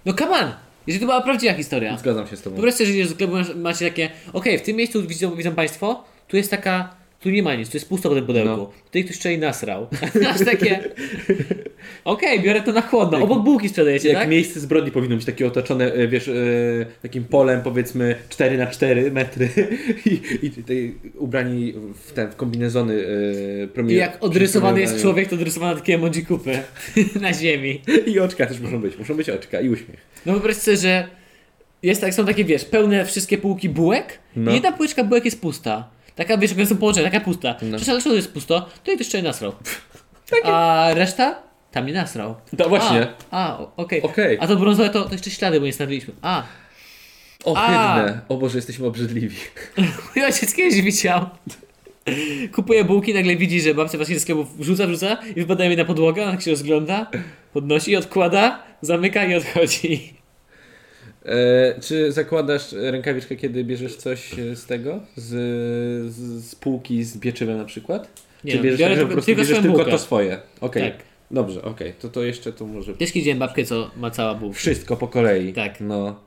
[SPEAKER 1] No come on! Jeżeli to była prawdziwa historia.
[SPEAKER 2] Zgadzam się z tobą.
[SPEAKER 1] Po prostu, jeżeli do sklepu masz- macie takie, okej, w tym miejscu widzą, widzą Państwo, tu jest taka, tu nie ma nic, tu jest pusto po tym pudełku.
[SPEAKER 2] No.
[SPEAKER 1] Tutaj ktoś wczoraj nasrał. Aż takie, okej, biorę to na chłodno. Obok bułki sprzedajecie,
[SPEAKER 2] Jak
[SPEAKER 1] tak?
[SPEAKER 2] miejsce zbrodni powinno być takie otoczone, e, wiesz, e, takim polem powiedzmy 4 na 4 metry i, i tutaj ubrani w ten, w kombinezony e, promie-
[SPEAKER 1] I jak odrysowany jest
[SPEAKER 2] przeprowadzają.
[SPEAKER 1] człowiek, to odrysowane takie emoji kupy na ziemi.
[SPEAKER 2] I oczka też muszą być, muszą być oczka i uśmiech.
[SPEAKER 1] No po prostu, że jest tak, są takie, wiesz, pełne wszystkie półki bułek
[SPEAKER 2] No.
[SPEAKER 1] i jedna półeczka bułek jest pusta. Taka, wiesz, jak są połączone, taka pusta.
[SPEAKER 2] No.
[SPEAKER 1] Przecież ale dlaczego to jest pusto? To i ktoś wczoraj nasrał. A reszta? Tam nie nasrał.
[SPEAKER 2] No właśnie.
[SPEAKER 1] A, a o- okej.
[SPEAKER 2] Okej.
[SPEAKER 1] A to brązowe to, to jeszcze ślady, bo nie stawiliśmy. A,
[SPEAKER 2] Ohydne. O Boże, jesteśmy obrzydliwi.
[SPEAKER 1] Mój ojciec kiedyś widział. Kupuje bułki, nagle widzi, że babcia właśnie ze sklepu wrzuca, wrzuca i wypadają jej na podłogę, ona tak się rozgląda, podnosi, odkłada, zamyka i odchodzi.
[SPEAKER 2] E, czy zakładasz rękawiczkę, kiedy bierzesz coś e, z tego? Z, z, z półki z bieczywem na przykład?
[SPEAKER 1] Nie,
[SPEAKER 2] czy bierzesz,
[SPEAKER 1] biorę
[SPEAKER 2] tak, że
[SPEAKER 1] tylko-
[SPEAKER 2] po prostu
[SPEAKER 1] tylko
[SPEAKER 2] bierzesz
[SPEAKER 1] swoją
[SPEAKER 2] tylko
[SPEAKER 1] bułkę.
[SPEAKER 2] to swoje? Okej.
[SPEAKER 1] Tak.
[SPEAKER 2] Dobrze, okej. To to jeszcze tu może...
[SPEAKER 1] Też widziałem babkę, co ma cała bułka.
[SPEAKER 2] Wszystko po kolei.
[SPEAKER 1] Tak.
[SPEAKER 2] No.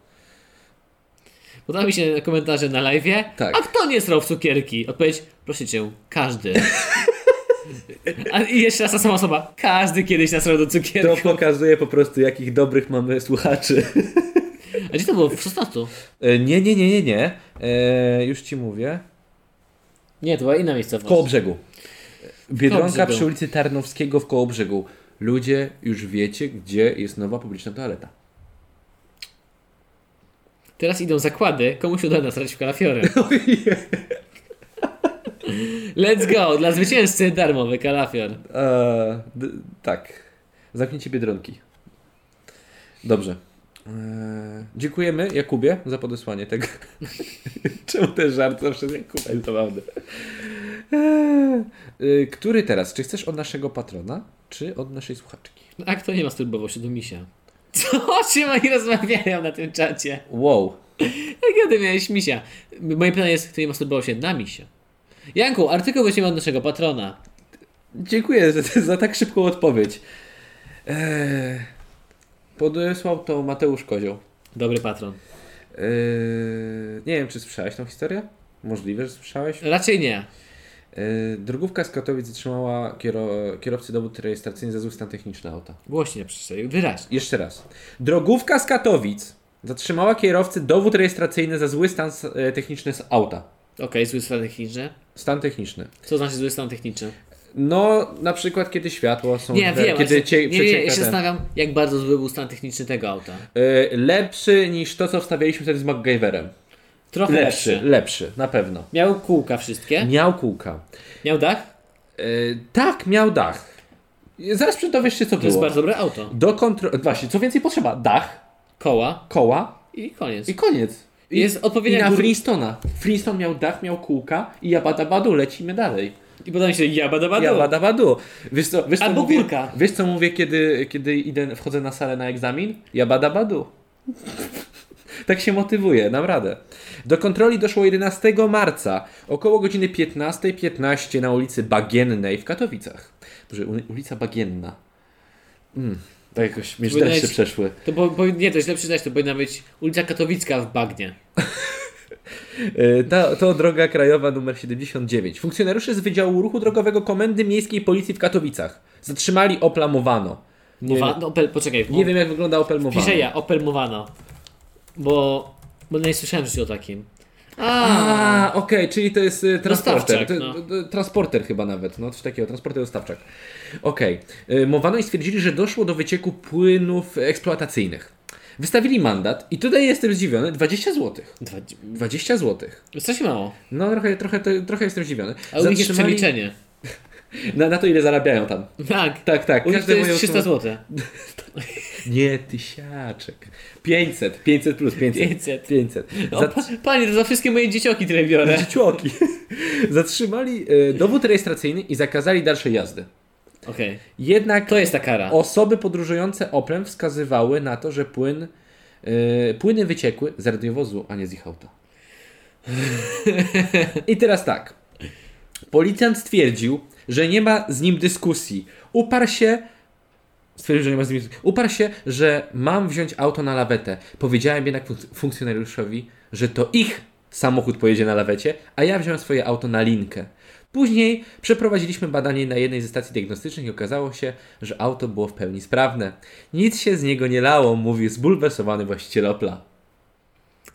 [SPEAKER 1] Podoba mi się komentarze na live'ie.
[SPEAKER 2] Tak.
[SPEAKER 1] A kto nie srał w cukierki? Odpowiedź, proszę cię, każdy. A i jeszcze raz ta sama osoba. Każdy kiedyś nasrał do
[SPEAKER 2] To
[SPEAKER 1] cukierki.
[SPEAKER 2] pokazuje po prostu, jakich dobrych mamy słuchaczy.
[SPEAKER 1] A gdzie to było? W 16?
[SPEAKER 2] E, nie, nie, nie, nie, nie. E, już ci mówię.
[SPEAKER 1] Nie, to była inna miejscowość.
[SPEAKER 2] W Kołobrzegu. Biedronka
[SPEAKER 1] Kołobrzegu.
[SPEAKER 2] przy ulicy Tarnowskiego w Kołobrzegu. Ludzie, już wiecie, gdzie jest nowa publiczna toaleta.
[SPEAKER 1] Teraz idą zakłady, komu się uda nasrać w kalafiorę. Let's go! Dla zwycięzcy darmowy kalafior.
[SPEAKER 2] Eee, d- tak. Zamknięcie Biedronki. Dobrze. Eee, dziękujemy Jakubie za podesłanie tego. Czemu ten żart zawsze z Jakubem to mamy? Eee, y, który teraz? Czy chcesz od naszego patrona, czy od naszej słuchaczki?
[SPEAKER 1] A kto nie masturbował się do misia? Co o czym oni rozmawiają na tym czacie?
[SPEAKER 2] Wow.
[SPEAKER 1] Jak ty miałeś misia? M- Moje pytanie jest, kto nie masturbował się na misia? Janku, artykuł weźmiemy od naszego patrona.
[SPEAKER 2] Dziękuję za, za tak szybką odpowiedź. Eee, podesłał to Mateusz Kozioł.
[SPEAKER 1] Dobry patron.
[SPEAKER 2] Eee, nie wiem, czy słyszałeś tą historię? Możliwe, że słyszałeś.
[SPEAKER 1] Raczej nie.
[SPEAKER 2] Yy, Drogówka z Katowic zatrzymała kiero, kierowcy dowód rejestracyjny za zły stan techniczny auta.
[SPEAKER 1] Głośnie przeczytaj, wyraźnie.
[SPEAKER 2] Jeszcze raz. Drogówka z Katowic zatrzymała kierowcy dowód rejestracyjny za zły stan s- e, techniczny z auta.
[SPEAKER 1] Okej, zły stan techniczny.
[SPEAKER 2] Stan techniczny.
[SPEAKER 1] Co znaczy zły stan techniczny?
[SPEAKER 2] No, na przykład kiedy światło są...
[SPEAKER 1] Nie,
[SPEAKER 2] źle,
[SPEAKER 1] wiem,
[SPEAKER 2] Kiedy
[SPEAKER 1] ale się,
[SPEAKER 2] cie,
[SPEAKER 1] nie, nie, ja się
[SPEAKER 2] przecieka ten.
[SPEAKER 1] zastanawiam, jak bardzo zły był stan techniczny tego auta.
[SPEAKER 2] Yy, Lepszy niż to, co wstawialiśmy wtedy z MacGyverem.
[SPEAKER 1] Trochę
[SPEAKER 2] Lepszy,
[SPEAKER 1] lepszy.
[SPEAKER 2] lepszy, na pewno.
[SPEAKER 1] Miał kółka wszystkie.
[SPEAKER 2] Miał kółka.
[SPEAKER 1] Miał dach?
[SPEAKER 2] Yy, tak, miał dach. Zaraz przy- dowiesz się, co
[SPEAKER 1] To jest
[SPEAKER 2] było.
[SPEAKER 1] bardzo dobre auto.
[SPEAKER 2] Do kontroli... Właśnie, co więcej potrzeba? Dach,
[SPEAKER 1] Koła
[SPEAKER 2] koła,
[SPEAKER 1] i koniec.
[SPEAKER 2] I koniec. I,
[SPEAKER 1] Jest odpowiednia
[SPEAKER 2] I na
[SPEAKER 1] gór-
[SPEAKER 2] Flintstona. Flintstone miał dach, miał kółka i jabada badu, lecimy dalej.
[SPEAKER 1] I podoba mi się jabada badu.
[SPEAKER 2] Jabada badu. Wiesz co, wiesz co
[SPEAKER 1] Albo
[SPEAKER 2] mówię,
[SPEAKER 1] górka.
[SPEAKER 2] Wiesz co mówię, kiedy, kiedy idę, wchodzę na salę na egzamin? Jabada badu. Tak się motywuje, dam radę. Do kontroli doszło 11 marca, około godziny 15.15 na ulicy Bagiennej w Katowicach. Boże, uli- ulica Bagienna. Mm, tak jakoś mnie
[SPEAKER 1] Wydaje
[SPEAKER 2] dalsze
[SPEAKER 1] się-
[SPEAKER 2] przeszły.
[SPEAKER 1] To bo, bo, nie, to źle przyznać, to powinna być ulica Katowicka w Bagnie.
[SPEAKER 2] E, Ta, to droga krajowa numer 79. Funkcjonariusze z Wydziału Ruchu Drogowego Komendy Miejskiej Policji w Katowicach zatrzymali Opla Mowano. Nie,
[SPEAKER 1] Mowa,
[SPEAKER 2] wiem,
[SPEAKER 1] no, Opel, poczekaj.
[SPEAKER 2] nie wiem jak wygląda Opel Mowano.
[SPEAKER 1] Piszę ja, Opel Mowano. Bo, bo nie słyszałem w życiu o takim. A,
[SPEAKER 2] A, okej, czyli to jest y, transporter.
[SPEAKER 1] Dostawczak,
[SPEAKER 2] To,
[SPEAKER 1] no.
[SPEAKER 2] to- to Transporter chyba nawet, no coś takiego, transporter dostawczak. Okej. Okay. Mowano i stwierdzili, że doszło do wycieku płynów eksploatacyjnych. Wystawili mandat i tutaj jestem zdziwiony, 20 zł.
[SPEAKER 1] dwa,
[SPEAKER 2] 20 zł.
[SPEAKER 1] strasznie mało.
[SPEAKER 2] No trochę, trochę, trochę jestem zdziwiony.
[SPEAKER 1] Ale u nich jest przeliczenie.
[SPEAKER 2] na, na to ile zarabiają tam.
[SPEAKER 1] Tak.
[SPEAKER 2] Tak, tak.
[SPEAKER 1] U nich to
[SPEAKER 2] każdemu
[SPEAKER 1] jest
[SPEAKER 2] ją
[SPEAKER 1] 300
[SPEAKER 2] suma-
[SPEAKER 1] zł.
[SPEAKER 2] Nie, tysiaczek. 500, 500 plus 500.
[SPEAKER 1] 500.
[SPEAKER 2] 500.
[SPEAKER 1] O,
[SPEAKER 2] Za...
[SPEAKER 1] No, pa- Panie, to za wszystkie moje dzieciaki tyle biorę.
[SPEAKER 2] Dzieciuoki. Zatrzymali e, dowód rejestracyjny i zakazali dalszej jazdy.
[SPEAKER 1] Okej.
[SPEAKER 2] Jednak
[SPEAKER 1] To jest ta kara.
[SPEAKER 2] osoby podróżujące Oplem wskazywały na to, że płyn, e, płyny wyciekły z radiowozu, a nie z ich auta. I teraz tak. Policjant stwierdził, że nie ma z nim dyskusji. Uparł się. Stwierdził, że nie ma z nim dyskusji. Uparł się, że mam wziąć auto na lawetę. Powiedziałem jednak fun- funkcjonariuszowi, że to ich samochód pojedzie na lawecie, a ja wziąłem swoje auto na linkę. Później przeprowadziliśmy badanie na jednej ze stacji diagnostycznych i okazało się, że auto było w pełni sprawne. Nic się z niego nie lało, mówi zbulwersowany właściciel Opla.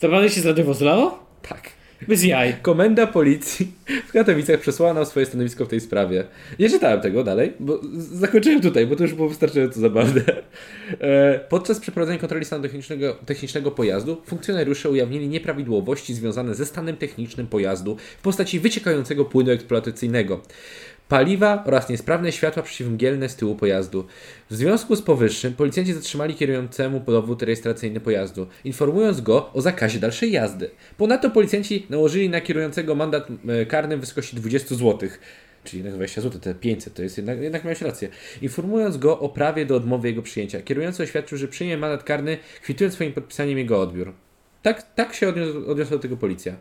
[SPEAKER 1] Naprawdę się z radiowo zlało?
[SPEAKER 2] Tak.
[SPEAKER 1] Bez jaj.
[SPEAKER 2] Komenda policji w Katowicach przesłała nam swoje stanowisko w tej sprawie. Nie czytałem tego dalej, bo z- zakończyłem tutaj, bo to już było wystarczająco zabawne. E, podczas przeprowadzenia kontroli stanu technicznego, technicznego pojazdu funkcjonariusze ujawnili nieprawidłowości związane ze stanem technicznym pojazdu w postaci wyciekającego płynu eksploatacyjnego. paliwa oraz niesprawne światła przeciwmgielne z tyłu pojazdu. W związku z powyższym policjanci zatrzymali kierującemu dowód rejestracyjny pojazdu, informując go o zakazie dalszej jazdy. Ponadto policjanci nałożyli na kierującego mandat e, karny w wysokości 20 zł. Czyli jednak 20 zł, te 500 to jest jednak, jednak miałeś rację. Informując go o prawie do odmowy jego przyjęcia, kierujący oświadczył, że przyjmie mandat karny, kwitując swoim podpisaniem jego odbiór. Tak, tak się odniósł, odniosła do tego policja.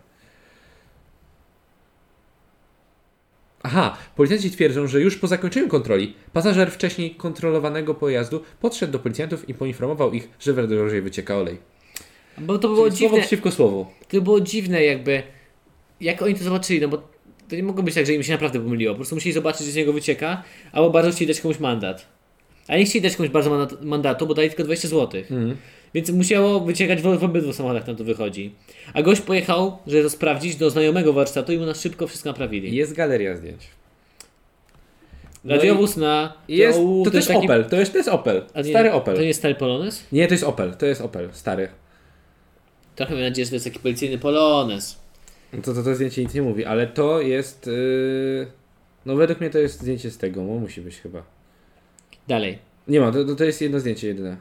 [SPEAKER 2] Aha, policjanci twierdzą, że już po zakończeniu kontroli pasażer wcześniej kontrolowanego pojazdu podszedł do policjantów i poinformował ich, że w redorze wycieka olej.
[SPEAKER 1] Bo to było
[SPEAKER 2] Czyli Słowo
[SPEAKER 1] dziwne.
[SPEAKER 2] przeciwko słowu.
[SPEAKER 1] To było dziwne jakby, jak oni to zobaczyli, no bo to nie mogło być tak, że im się naprawdę pomyliło. Po prostu musieli zobaczyć, że z niego wycieka, albo bardzo chcieli dać komuś mandat. A nie chcieli dać komuś bardzo mandat, mandatu, bo dali tylko 20 zł.
[SPEAKER 2] Mhm.
[SPEAKER 1] Więc musiało wyciekać w, w obydwu samochodach, nam to wychodzi. A gość pojechał, żeby to sprawdzić, do znajomego warsztatu i mu na szybko wszystko naprawili.
[SPEAKER 2] Jest galeria zdjęć. no
[SPEAKER 1] Radiowóz na...
[SPEAKER 2] Jest,
[SPEAKER 1] o,
[SPEAKER 2] to, to jest
[SPEAKER 1] taki-
[SPEAKER 2] Opel, to jest, to jest Opel.
[SPEAKER 1] A nie,
[SPEAKER 2] Stary Opel.
[SPEAKER 1] To nie jest stary Polonez?
[SPEAKER 2] Nie, to jest Opel, to jest Opel, stary.
[SPEAKER 1] Trochę mam nadzieję, że to jest taki policyjny Polonez.
[SPEAKER 2] No To, to, to zdjęcie nic nie mówi, ale to jest. Yy... No, według mnie to jest zdjęcie z tego, bo musi być chyba.
[SPEAKER 1] Dalej.
[SPEAKER 2] Nie ma, to, to- to jest jedno zdjęcie jedyne.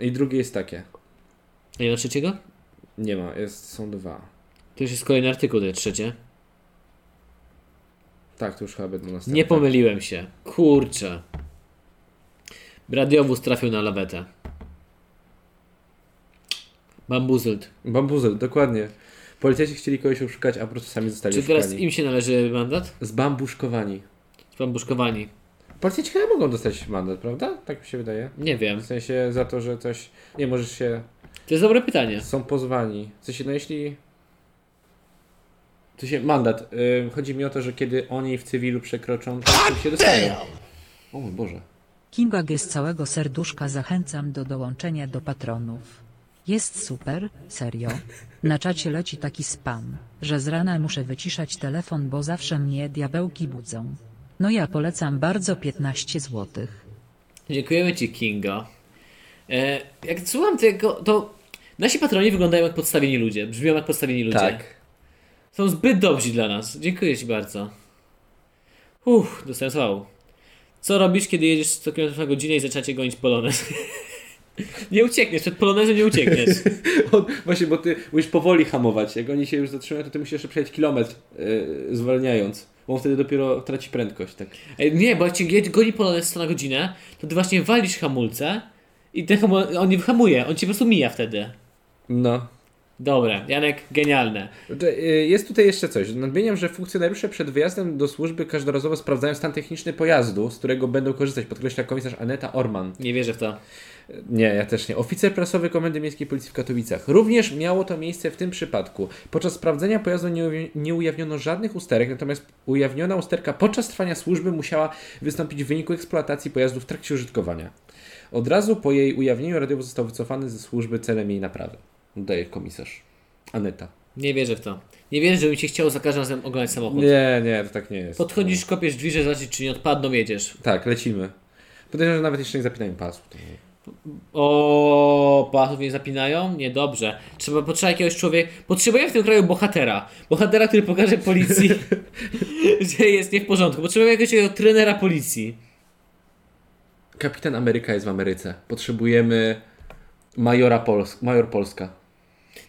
[SPEAKER 2] I drugie jest takie.
[SPEAKER 1] A nie ma trzeciego?
[SPEAKER 2] Nie ma, jest, są dwa.
[SPEAKER 1] To już jest kolejny artykuł, to jest trzecie.
[SPEAKER 2] Tak, to już chyba będą następne.
[SPEAKER 1] Nie pomyliłem się. Kurczę. Radiowóz trafił na lawetę. Bambuzelt.
[SPEAKER 2] Bambuzel, dokładnie. Policjanci chcieli kogoś oszukać, a po prostu sami zostali
[SPEAKER 1] Czy
[SPEAKER 2] oszukani.
[SPEAKER 1] teraz im się należy mandat?
[SPEAKER 2] Zbambuszkowani.
[SPEAKER 1] Bambuszkowani.
[SPEAKER 2] Policjanci chyba mogą dostać mandat, prawda? Tak mi się wydaje.
[SPEAKER 1] Nie wiem.
[SPEAKER 2] W sensie za to, że coś... Nie, możesz się...
[SPEAKER 1] To jest dobre pytanie.
[SPEAKER 2] Są pozwani. W sensie, no jeśli... To się mandat. Ym, chodzi mi o to, że kiedy oni w cywilu przekroczą, to się dostają. O mój Boże.
[SPEAKER 3] Kinga G z całego serduszka zachęcam do dołączenia do patronów. Jest super, serio. Na czacie leci taki spam, że z rana muszę wyciszać telefon, bo zawsze mnie diabełki budzą. No ja polecam bardzo 15 złotych.
[SPEAKER 1] Dziękujemy Ci, Kingo. E, jak słucham tego, to nasi patroni wyglądają jak podstawieni ludzie. Brzmią jak podstawieni ludzie. Są zbyt dobrzy dla nas. Dziękuję Ci bardzo. Uff, dostałem sławę. Co robisz, kiedy jedziesz 100 km na godzinę i zaczynacie gonić polonez? nie uciekniesz, przed polonezem nie uciekniesz.
[SPEAKER 2] On, właśnie, bo ty musisz powoli hamować. Jak oni się już zatrzymają, to ty musisz jeszcze przejechać kilometr yy, zwalniając. Bo on wtedy dopiero traci prędkość. Tak.
[SPEAKER 1] Ej, nie, bo jak cię je- goni polonez 100 na godzinę, to ty właśnie walisz hamulce i ten hamu- on nie hamuje, on ci po prostu mija wtedy.
[SPEAKER 2] No. Dobra.
[SPEAKER 1] Dobra, Janek, genialne.
[SPEAKER 2] Że, y, Jest tutaj jeszcze coś. Nadmieniam, że funkcjonariusze przed wyjazdem do służby każdorazowo sprawdzają stan techniczny pojazdu, z którego będą korzystać, podkreśla komisarz Aneta Orman.
[SPEAKER 1] Nie wierzę w to.
[SPEAKER 2] Nie, ja też nie. Oficer prasowy Komendy Miejskiej Policji w Katowicach. Również miało to miejsce w tym przypadku. Podczas sprawdzenia pojazdu nie, uwi- nie ujawniono żadnych usterek, natomiast ujawniona usterka podczas trwania służby musiała wystąpić w wyniku eksploatacji pojazdu w trakcie użytkowania. Od razu po jej ujawnieniu radiowóz został wycofany ze służby celem jej naprawy. Daje komisarz. Aneta.
[SPEAKER 1] Nie wierzę w to. Nie wierzę, że mi się chciało za każdym razem oglądać samochód.
[SPEAKER 2] Nie, nie, to tak nie jest.
[SPEAKER 1] Podchodzisz, kopiesz drzwi, żeby zobaczyć, czy nie odpadną, jedziesz.
[SPEAKER 2] Tak, lecimy. Podejrzewam, że nawet jeszcze nie zapinałem pasów.
[SPEAKER 1] O, pasów nie zapinają? Niedobrze. Trzeba potrzeba jakiegoś człowieka. Potrzebujemy w tym kraju bohatera. Bohatera, który pokaże policji, że jest nie w porządku. Potrzebujemy jakiegoś takiego trenera policji.
[SPEAKER 2] Kapitan Ameryka jest w Ameryce. Potrzebujemy majora Pols- major Polska.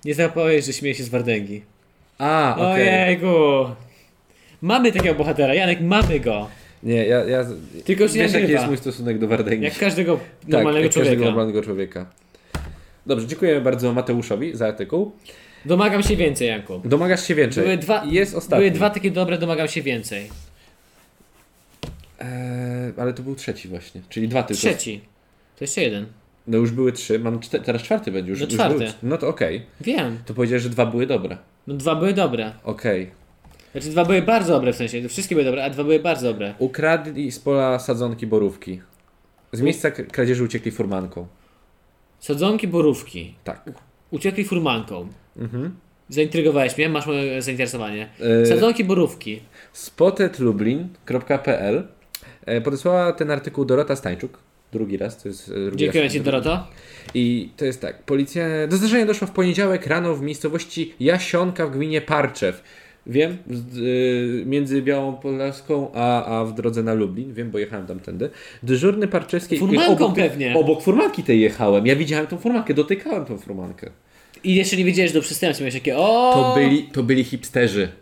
[SPEAKER 1] Nie zapowiedz, że śmieje się z Wardęgi.
[SPEAKER 2] A, okej.
[SPEAKER 1] Ojejku. Mamy takiego bohatera, Janek, mamy go.
[SPEAKER 2] Nie, ja, ja
[SPEAKER 1] Tylko się
[SPEAKER 2] wiesz
[SPEAKER 1] nie
[SPEAKER 2] jaki
[SPEAKER 1] nagrywa.
[SPEAKER 2] jest mój stosunek do Wardęgi.
[SPEAKER 1] Jak każdego
[SPEAKER 2] tak,
[SPEAKER 1] normalnego
[SPEAKER 2] jak
[SPEAKER 1] człowieka.
[SPEAKER 2] każdego normalnego człowieka. Dobrze, dziękujemy bardzo Mateuszowi za artykuł.
[SPEAKER 1] Domagam się więcej, Janku.
[SPEAKER 2] Domagasz się więcej.
[SPEAKER 1] Były dwa,
[SPEAKER 2] Jest ostatni.
[SPEAKER 1] były dwa takie dobre, domagam się więcej.
[SPEAKER 2] Eee, ale to był trzeci właśnie, czyli dwa tylko.
[SPEAKER 1] Trzeci. To jeszcze jeden.
[SPEAKER 2] No już były trzy, mam czte- teraz czwarty będzie już.
[SPEAKER 1] No
[SPEAKER 2] już
[SPEAKER 1] czwarty.
[SPEAKER 2] były- No to okej.
[SPEAKER 1] Wiem.
[SPEAKER 2] To powiedziałeś, że dwa były dobre.
[SPEAKER 1] No dwa były dobre.
[SPEAKER 2] Okej.
[SPEAKER 1] Znaczy dwa były bardzo dobre w sensie, wszystkie były dobre, a dwa były bardzo dobre.
[SPEAKER 2] Ukradli z pola sadzonki borówki. Z miejsca k- kradzieży uciekli furmanką.
[SPEAKER 1] Sadzonki borówki.
[SPEAKER 2] Tak.
[SPEAKER 1] Uciekli furmanką.
[SPEAKER 2] Mhm.
[SPEAKER 1] Zaintrygowałeś mnie, masz moje zainteresowanie.
[SPEAKER 2] Yy.
[SPEAKER 1] Sadzonki borówki.
[SPEAKER 2] spotedlublin.pl e, podesłała ten artykuł Dorota Stańczuk. Drugi raz, to jest e, drugi
[SPEAKER 1] Dziękuję
[SPEAKER 2] raz.
[SPEAKER 1] Ci Doroto.
[SPEAKER 2] I to jest tak, policja... Do zdarzenia doszło w poniedziałek rano w miejscowości Jasionka w gminie Parczew. Wiem, z- y, między Białą Podlaską a, a w drodze na Lublin, wiem, bo jechałem tamtędy. Dyżurny Parczewskiej...
[SPEAKER 1] Furmanką
[SPEAKER 2] obok, tej-
[SPEAKER 1] pewnie.
[SPEAKER 2] Obok furmanki tej jechałem. Ja widziałem tą furmankę, dotykałem tą furmankę.
[SPEAKER 1] I jeszcze nie wiedziałeś, że do przestępstwa miałeś takie o.
[SPEAKER 2] To byli, to byli hipsterzy.
[SPEAKER 1] Mm.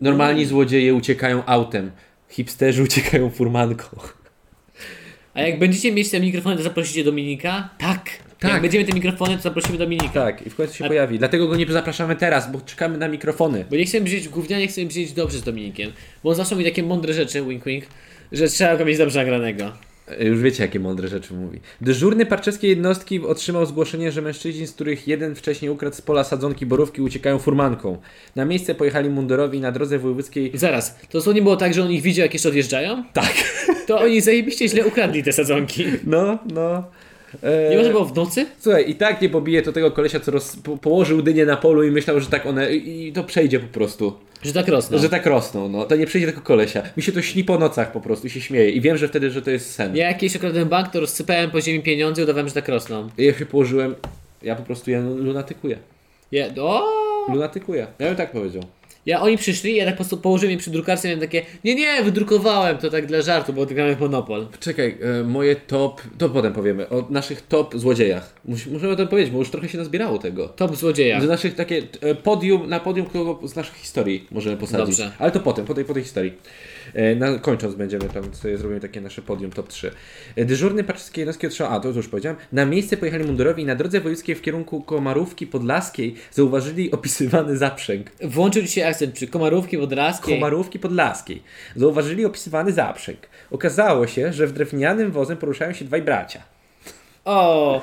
[SPEAKER 2] Normalni złodzieje uciekają autem. Hipsterzy uciekają furmanką.
[SPEAKER 1] A jak będziecie mieć te mikrofony, to zaprosicie Dominika? Tak.
[SPEAKER 2] Tak.
[SPEAKER 1] Jak będziemy te mikrofony, to zaprosimy Dominika.
[SPEAKER 2] Tak, i w końcu się pojawi. Dlatego go nie zapraszamy teraz, bo czekamy na mikrofony.
[SPEAKER 1] Bo nie chcemy brzmieć gównianie, chcemy brzmieć dobrze z Dominikiem. Bo on zawsze mówi takie mądre rzeczy, wink wink, że trzeba go mieć dobrze nagranego.
[SPEAKER 2] E, Już wiecie, jakie mądre rzeczy mówi. Dyżurny parczeskiej jednostki otrzymał zgłoszenie, że mężczyźni, z których jeden wcześniej ukradł z pola sadzonki borówki, uciekają furmanką. Na miejsce pojechali mundurowi i na drodze wojewódzkiej...
[SPEAKER 1] Zaraz, to co nie było tak, że on ich widział, jak jeszcze odjeżdżają?
[SPEAKER 2] Tak.
[SPEAKER 1] To oni zajebiście źle ukradli te sadzonki.
[SPEAKER 2] No, no. E,
[SPEAKER 1] Nie może było w nocy?
[SPEAKER 2] Słuchaj, i tak nie pobije to tego kolesia, co roz... po- położył dynię na polu i myślał, że tak one... I i to przejdzie po prostu.
[SPEAKER 1] Że tak rosną.
[SPEAKER 2] Że tak rosną, no. To nie przejdzie tego kolesia. Mi się to śni po nocach po prostu i się śmieje. I wiem, że wtedy, że to jest sen.
[SPEAKER 1] Ja jakieś okradłem bank, to rozsypałem po ziemi pieniądze i udawałem, że tak rosną.
[SPEAKER 2] I Ja się położyłem... Ja po prostu ja lunatykuję.
[SPEAKER 1] Ja, o!
[SPEAKER 2] Lunatykuję. Ja bym tak powiedział.
[SPEAKER 1] Ja, oni przyszli, ja tak po prostu położyłem je przy drukarce, miałem takie, nie, nie, wydrukowałem to tak dla żartu, bo gramy w Monopol.
[SPEAKER 2] Czekaj, e, moje top. To potem powiemy. O naszych top złodziejach. Mus, możemy o tym powiedzieć, bo już trochę się nazbierało tego.
[SPEAKER 1] Top złodzieja.
[SPEAKER 2] Z naszych takie e, podium, na podium kogo z naszych historii możemy posadzić.
[SPEAKER 1] Dobrze.
[SPEAKER 2] Ale to potem, po tej, po tej historii. E, na, kończąc będziemy tam sobie zrobimy takie nasze podium top 3. E, dyżurny paczewskiej jednostki otrzymał, a to już powiedziałem, na miejsce pojechali mundurowi i na drodze wojewódzkiej w kierunku Komarówki Podlaskiej zauważyli opisywany zaprzęg.
[SPEAKER 1] Włączył ci się akcent przy komarówki, wodraskiej.
[SPEAKER 2] Komarówki Podlaskiej. Zauważyli opisywany zaprzęg. Okazało się, że w drewnianym wozem poruszają się dwaj bracia.
[SPEAKER 1] O,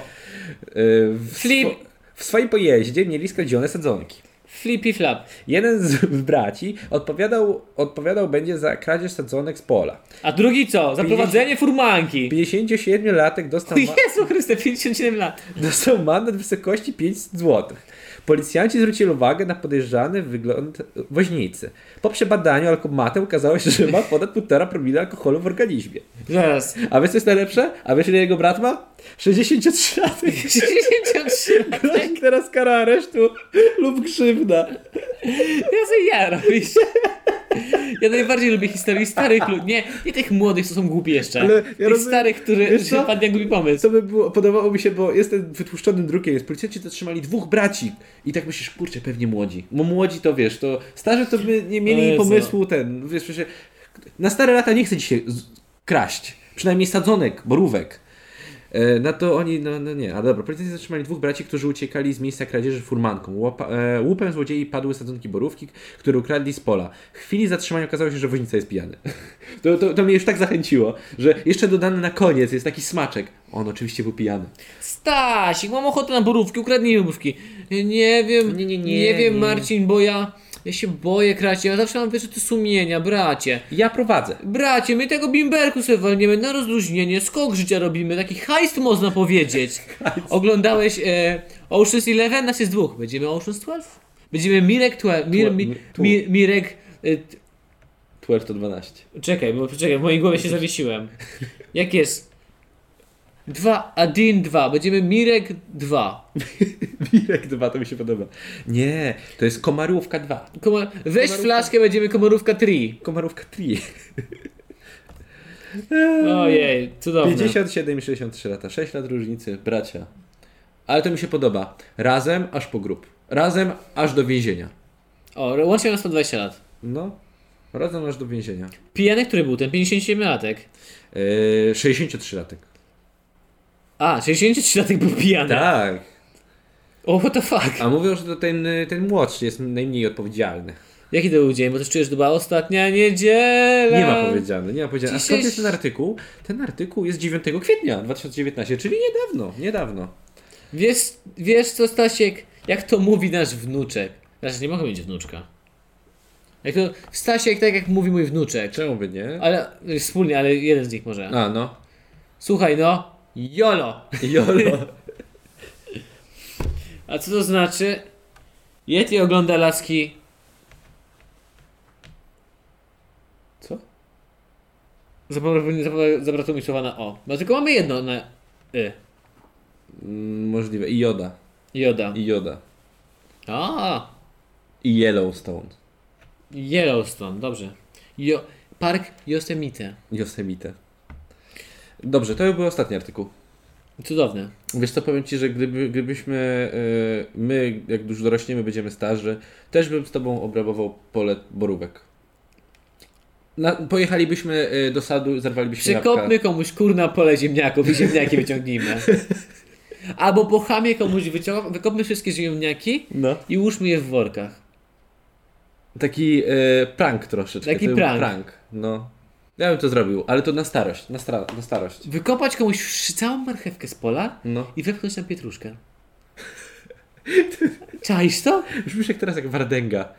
[SPEAKER 2] Yy, w,
[SPEAKER 1] Flip.
[SPEAKER 2] swo- w swoim pojeździe mieli skradzione sadzonki.
[SPEAKER 1] flippy flap.
[SPEAKER 2] Jeden z braci odpowiadał, odpowiadał będzie za kradzież sadzonek z pola.
[SPEAKER 1] A drugi co? Zaprowadzenie furmanki.
[SPEAKER 2] 57-latek dostał, ma-
[SPEAKER 1] Jezu Chryste, 57 lat.
[SPEAKER 2] dostał mandat w wysokości 500 zł. Policjanci zwrócili uwagę na podejrzany wygląd woźnicy. Po przebadaniu alkomatem okazało się, że ma ponad 1,5 promila alkoholu w organizmie.
[SPEAKER 1] Zaraz.
[SPEAKER 2] A wiesz co jest najlepsze? A wiesz ile jego brat ma? 63 latek.
[SPEAKER 1] 63
[SPEAKER 2] Grozi teraz kara aresztu lub krzywda.
[SPEAKER 1] Ja sobie ja robisz. Ja najbardziej lubię historii starych ludzi. Nie, nie tych młodych, co są głupi jeszcze.
[SPEAKER 2] Ale ja
[SPEAKER 1] tych
[SPEAKER 2] rozumiem-
[SPEAKER 1] starych, który
[SPEAKER 2] Wiesz co?
[SPEAKER 1] że padnie głupi pomysł.
[SPEAKER 2] Co by było, podobało mi się, bo jestem wytłuszczonym drukiem, jest policjanci to trzymali dwóch braci. I tak myślisz, kurczę, pewnie młodzi. Bo młodzi to wiesz, to starzy to by nie
[SPEAKER 1] O
[SPEAKER 2] mieli
[SPEAKER 1] Jezu.
[SPEAKER 2] pomysłu ten, wiesz, przecież na stare lata nie chce dzisiaj z- kraść. Przynajmniej sadzonek, borówek. E, Na to oni, no, no nie, a dobra, policjanci zatrzymali dwóch braci, którzy uciekali z miejsca kradzieży furmanką. Łapa, e, łupem złodziei padły sadzonki borówki, które ukradli z pola. W chwili zatrzymania okazało się, że woźnica jest pijany. To, to, to mnie już tak zachęciło, że jeszcze dodany na koniec jest taki smaczek. On oczywiście był pijany.
[SPEAKER 1] Stasik, mam ochotę na borówki, ukradnij borówki. Nie wiem, nie,
[SPEAKER 2] Nie, nie, nie,
[SPEAKER 1] wiem
[SPEAKER 2] nie.
[SPEAKER 1] Marcin, bo ja, ja się boję kracie. Ja zawsze mam wyrzuty sumienia, bracie.
[SPEAKER 2] Ja prowadzę.
[SPEAKER 1] Bracie, my tego bimberku sobie walniemy na rozluźnienie, skok życia robimy, taki hajst można powiedzieć. Oglądałeś e, Ocean's Eleven, nas jest dwóch, będziemy Ocean's 12? Będziemy Mirek 12, Mir, mi,
[SPEAKER 2] mi- tu.
[SPEAKER 1] mi, Mirek... E, t-
[SPEAKER 2] 12 to 12.
[SPEAKER 1] czekaj, bo czekaj, w mojej głowie się zawiesiłem. Jak jest? 2, Adin 2, będziemy Mirek 2.
[SPEAKER 2] Mirek 2, to mi się podoba. Nie, to jest komarówka 2.
[SPEAKER 1] Komar- weź flaszkę, będziemy komorówka 3.
[SPEAKER 2] Komarówka 3.
[SPEAKER 1] Ojej, cudowne.
[SPEAKER 2] 57 i 63 lata. 6 lat różnicy, bracia. Ale to mi się podoba. Razem aż po grób. Razem aż do więzienia.
[SPEAKER 1] O, łącznie na 120 lat.
[SPEAKER 2] No, razem aż do więzienia.
[SPEAKER 1] Pijany, który był ten 57-latek.
[SPEAKER 2] Yy, 63 latek.
[SPEAKER 1] A, 63-latek był pijany.
[SPEAKER 2] Tak.
[SPEAKER 1] O, what the fuck?
[SPEAKER 2] A mówią, że to ten, ten młodszy jest najmniej odpowiedzialny.
[SPEAKER 1] Jaki to był dzień? Bo też czujesz, że to była ostatnia niedziela.
[SPEAKER 2] Nie ma powiedziane, nie ma powiedziane. A
[SPEAKER 1] Dzisiaj-
[SPEAKER 2] skąd jest ten artykuł? Ten artykuł jest 9 kwietnia 2019, czyli niedawno, niedawno.
[SPEAKER 1] Wiesz, wiesz co, Stasiek? Jak to mówi nasz wnuczek? Znaczy, nie mogę mieć wnuczka. Jak to, Stasiek, tak jak mówi mój wnuczek.
[SPEAKER 2] Czemu by nie?
[SPEAKER 1] Ale, wspólnie, ale jeden z nich może.
[SPEAKER 2] A no.
[SPEAKER 1] Słuchaj, no. Jolo.
[SPEAKER 2] Jolo.
[SPEAKER 1] A co to znaczy? Yeti ogląda laski.
[SPEAKER 2] Co?
[SPEAKER 1] Zabra- zabra- Zabrakło mi słowa na o. No tylko mamy jedno na y.
[SPEAKER 2] Mm, Możliwe. I joda.
[SPEAKER 1] Joda.
[SPEAKER 2] I joda.
[SPEAKER 1] A,
[SPEAKER 2] i Yellowstone,
[SPEAKER 1] Yellowstone, dobrze. Jo Park Yosemite.
[SPEAKER 2] Yosemite. Dobrze, to był ostatni artykuł.
[SPEAKER 1] Cudowne.
[SPEAKER 2] Wiesz co, powiem Ci, że gdyby, gdybyśmy, e, my jak już dorośniemy, będziemy starzy, też bym z Tobą obrabował pole borówek. Na, pojechalibyśmy e, do sadu, zarwalibyśmy
[SPEAKER 1] Przykopmy
[SPEAKER 2] jabłka.
[SPEAKER 1] komuś kurna pole ziemniaków i ziemniaki wyciągnijmy. Albo po chamie komuś wycią- wykopmy wszystkie ziemniaki
[SPEAKER 2] No.
[SPEAKER 1] i łóżmy je w workach.
[SPEAKER 2] Taki e, prank troszeczkę.
[SPEAKER 1] Taki
[SPEAKER 2] to był
[SPEAKER 1] prank.
[SPEAKER 2] prank. No. Ja bym to zrobił, ale to na starość, na, stra- na starość.
[SPEAKER 1] Wykopać komuś wsz- całą marchewkę z pola
[SPEAKER 2] No.
[SPEAKER 1] i wepchnąć tam pietruszkę. Czaisz to?
[SPEAKER 2] Brzmisz jak teraz jak Wardęga.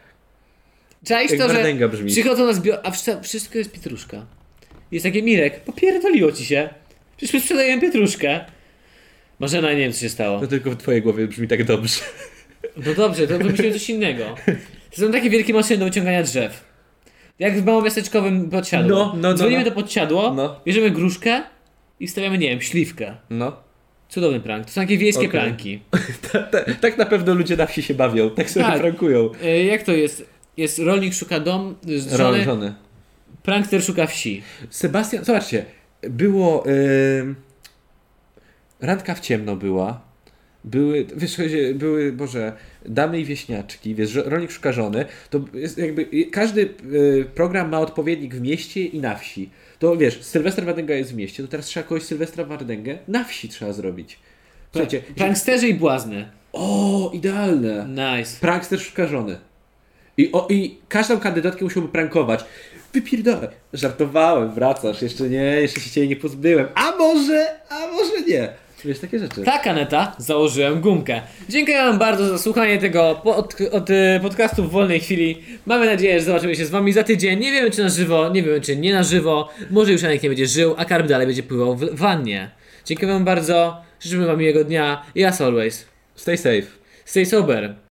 [SPEAKER 1] Czaisz
[SPEAKER 2] Jak
[SPEAKER 1] to, że
[SPEAKER 2] Wardęga brzmi.
[SPEAKER 1] przychodzą na zbiór, a wsz- wszystko jest pietruszka. Jest takie Mirek, popierdoliło ci się. Przecież my sprzedajemy pietruszkę. Marzena, nie wiem co się stało.
[SPEAKER 2] To No tylko w twojej głowie brzmi tak dobrze.
[SPEAKER 1] No dobrze, to wymyśliłem coś innego. To są takie wielkie maszyny do uciągania drzew. Jak w małomiasteczkowym podsiadło.
[SPEAKER 2] No, no, no,
[SPEAKER 1] Dzwonimy
[SPEAKER 2] no.
[SPEAKER 1] do podsiadło,
[SPEAKER 2] No.
[SPEAKER 1] bierzemy gruszkę i stawiamy, nie wiem, śliwkę.
[SPEAKER 2] No.
[SPEAKER 1] Cudowny prank. To są takie wiejskie
[SPEAKER 2] Okej.
[SPEAKER 1] pranki.
[SPEAKER 2] Ta, ta, tak na pewno ludzie na wsi się bawią, tak sobie
[SPEAKER 1] Tak.
[SPEAKER 2] prankują.
[SPEAKER 1] E, jak to jest? Jest rolnik szuka dom, z żony,
[SPEAKER 2] Żony.
[SPEAKER 1] prankster szuka wsi.
[SPEAKER 2] Sebastian, zobaczcie, było. ym, randka w ciemno była. Były, wiesz, chodzi- były, Boże, damy i wieśniaczki, wiesz, żo- rolnik szuka żony, to jest jakby, każdy y, program ma odpowiednik w mieście i na wsi. To wiesz, Sylwester Wardęga jest w mieście, to teraz trzeba kogoś Sylwestra Wardęgę na wsi trzeba zrobić. Słuchajcie,
[SPEAKER 1] Pranksterzy i błazny.
[SPEAKER 2] o, idealne.
[SPEAKER 1] Nice.
[SPEAKER 2] Prankster szuka żony. I, o, I każdą kandydatkę musiałby prankować. Wypierdolę. Żartowałem, wracasz, jeszcze nie, jeszcze się ciebie nie pozbyłem. A może, a może nie. Wiesz, takie rzeczy.
[SPEAKER 1] Tak, Aneta, założyłem gumkę. Dziękuję Wam bardzo za słuchanie tego po, od, od y, podcastu w wolnej chwili. Mamy nadzieję, że zobaczymy się z Wami za tydzień. Nie wiemy, czy na żywo, nie wiemy, czy nie na żywo. Może już Janek nie będzie żył, a karb dalej będzie pływał w wannie. Dziękuję Wam bardzo, życzymy Wam miłego dnia i as always,
[SPEAKER 2] Stay safe.
[SPEAKER 1] stay sober.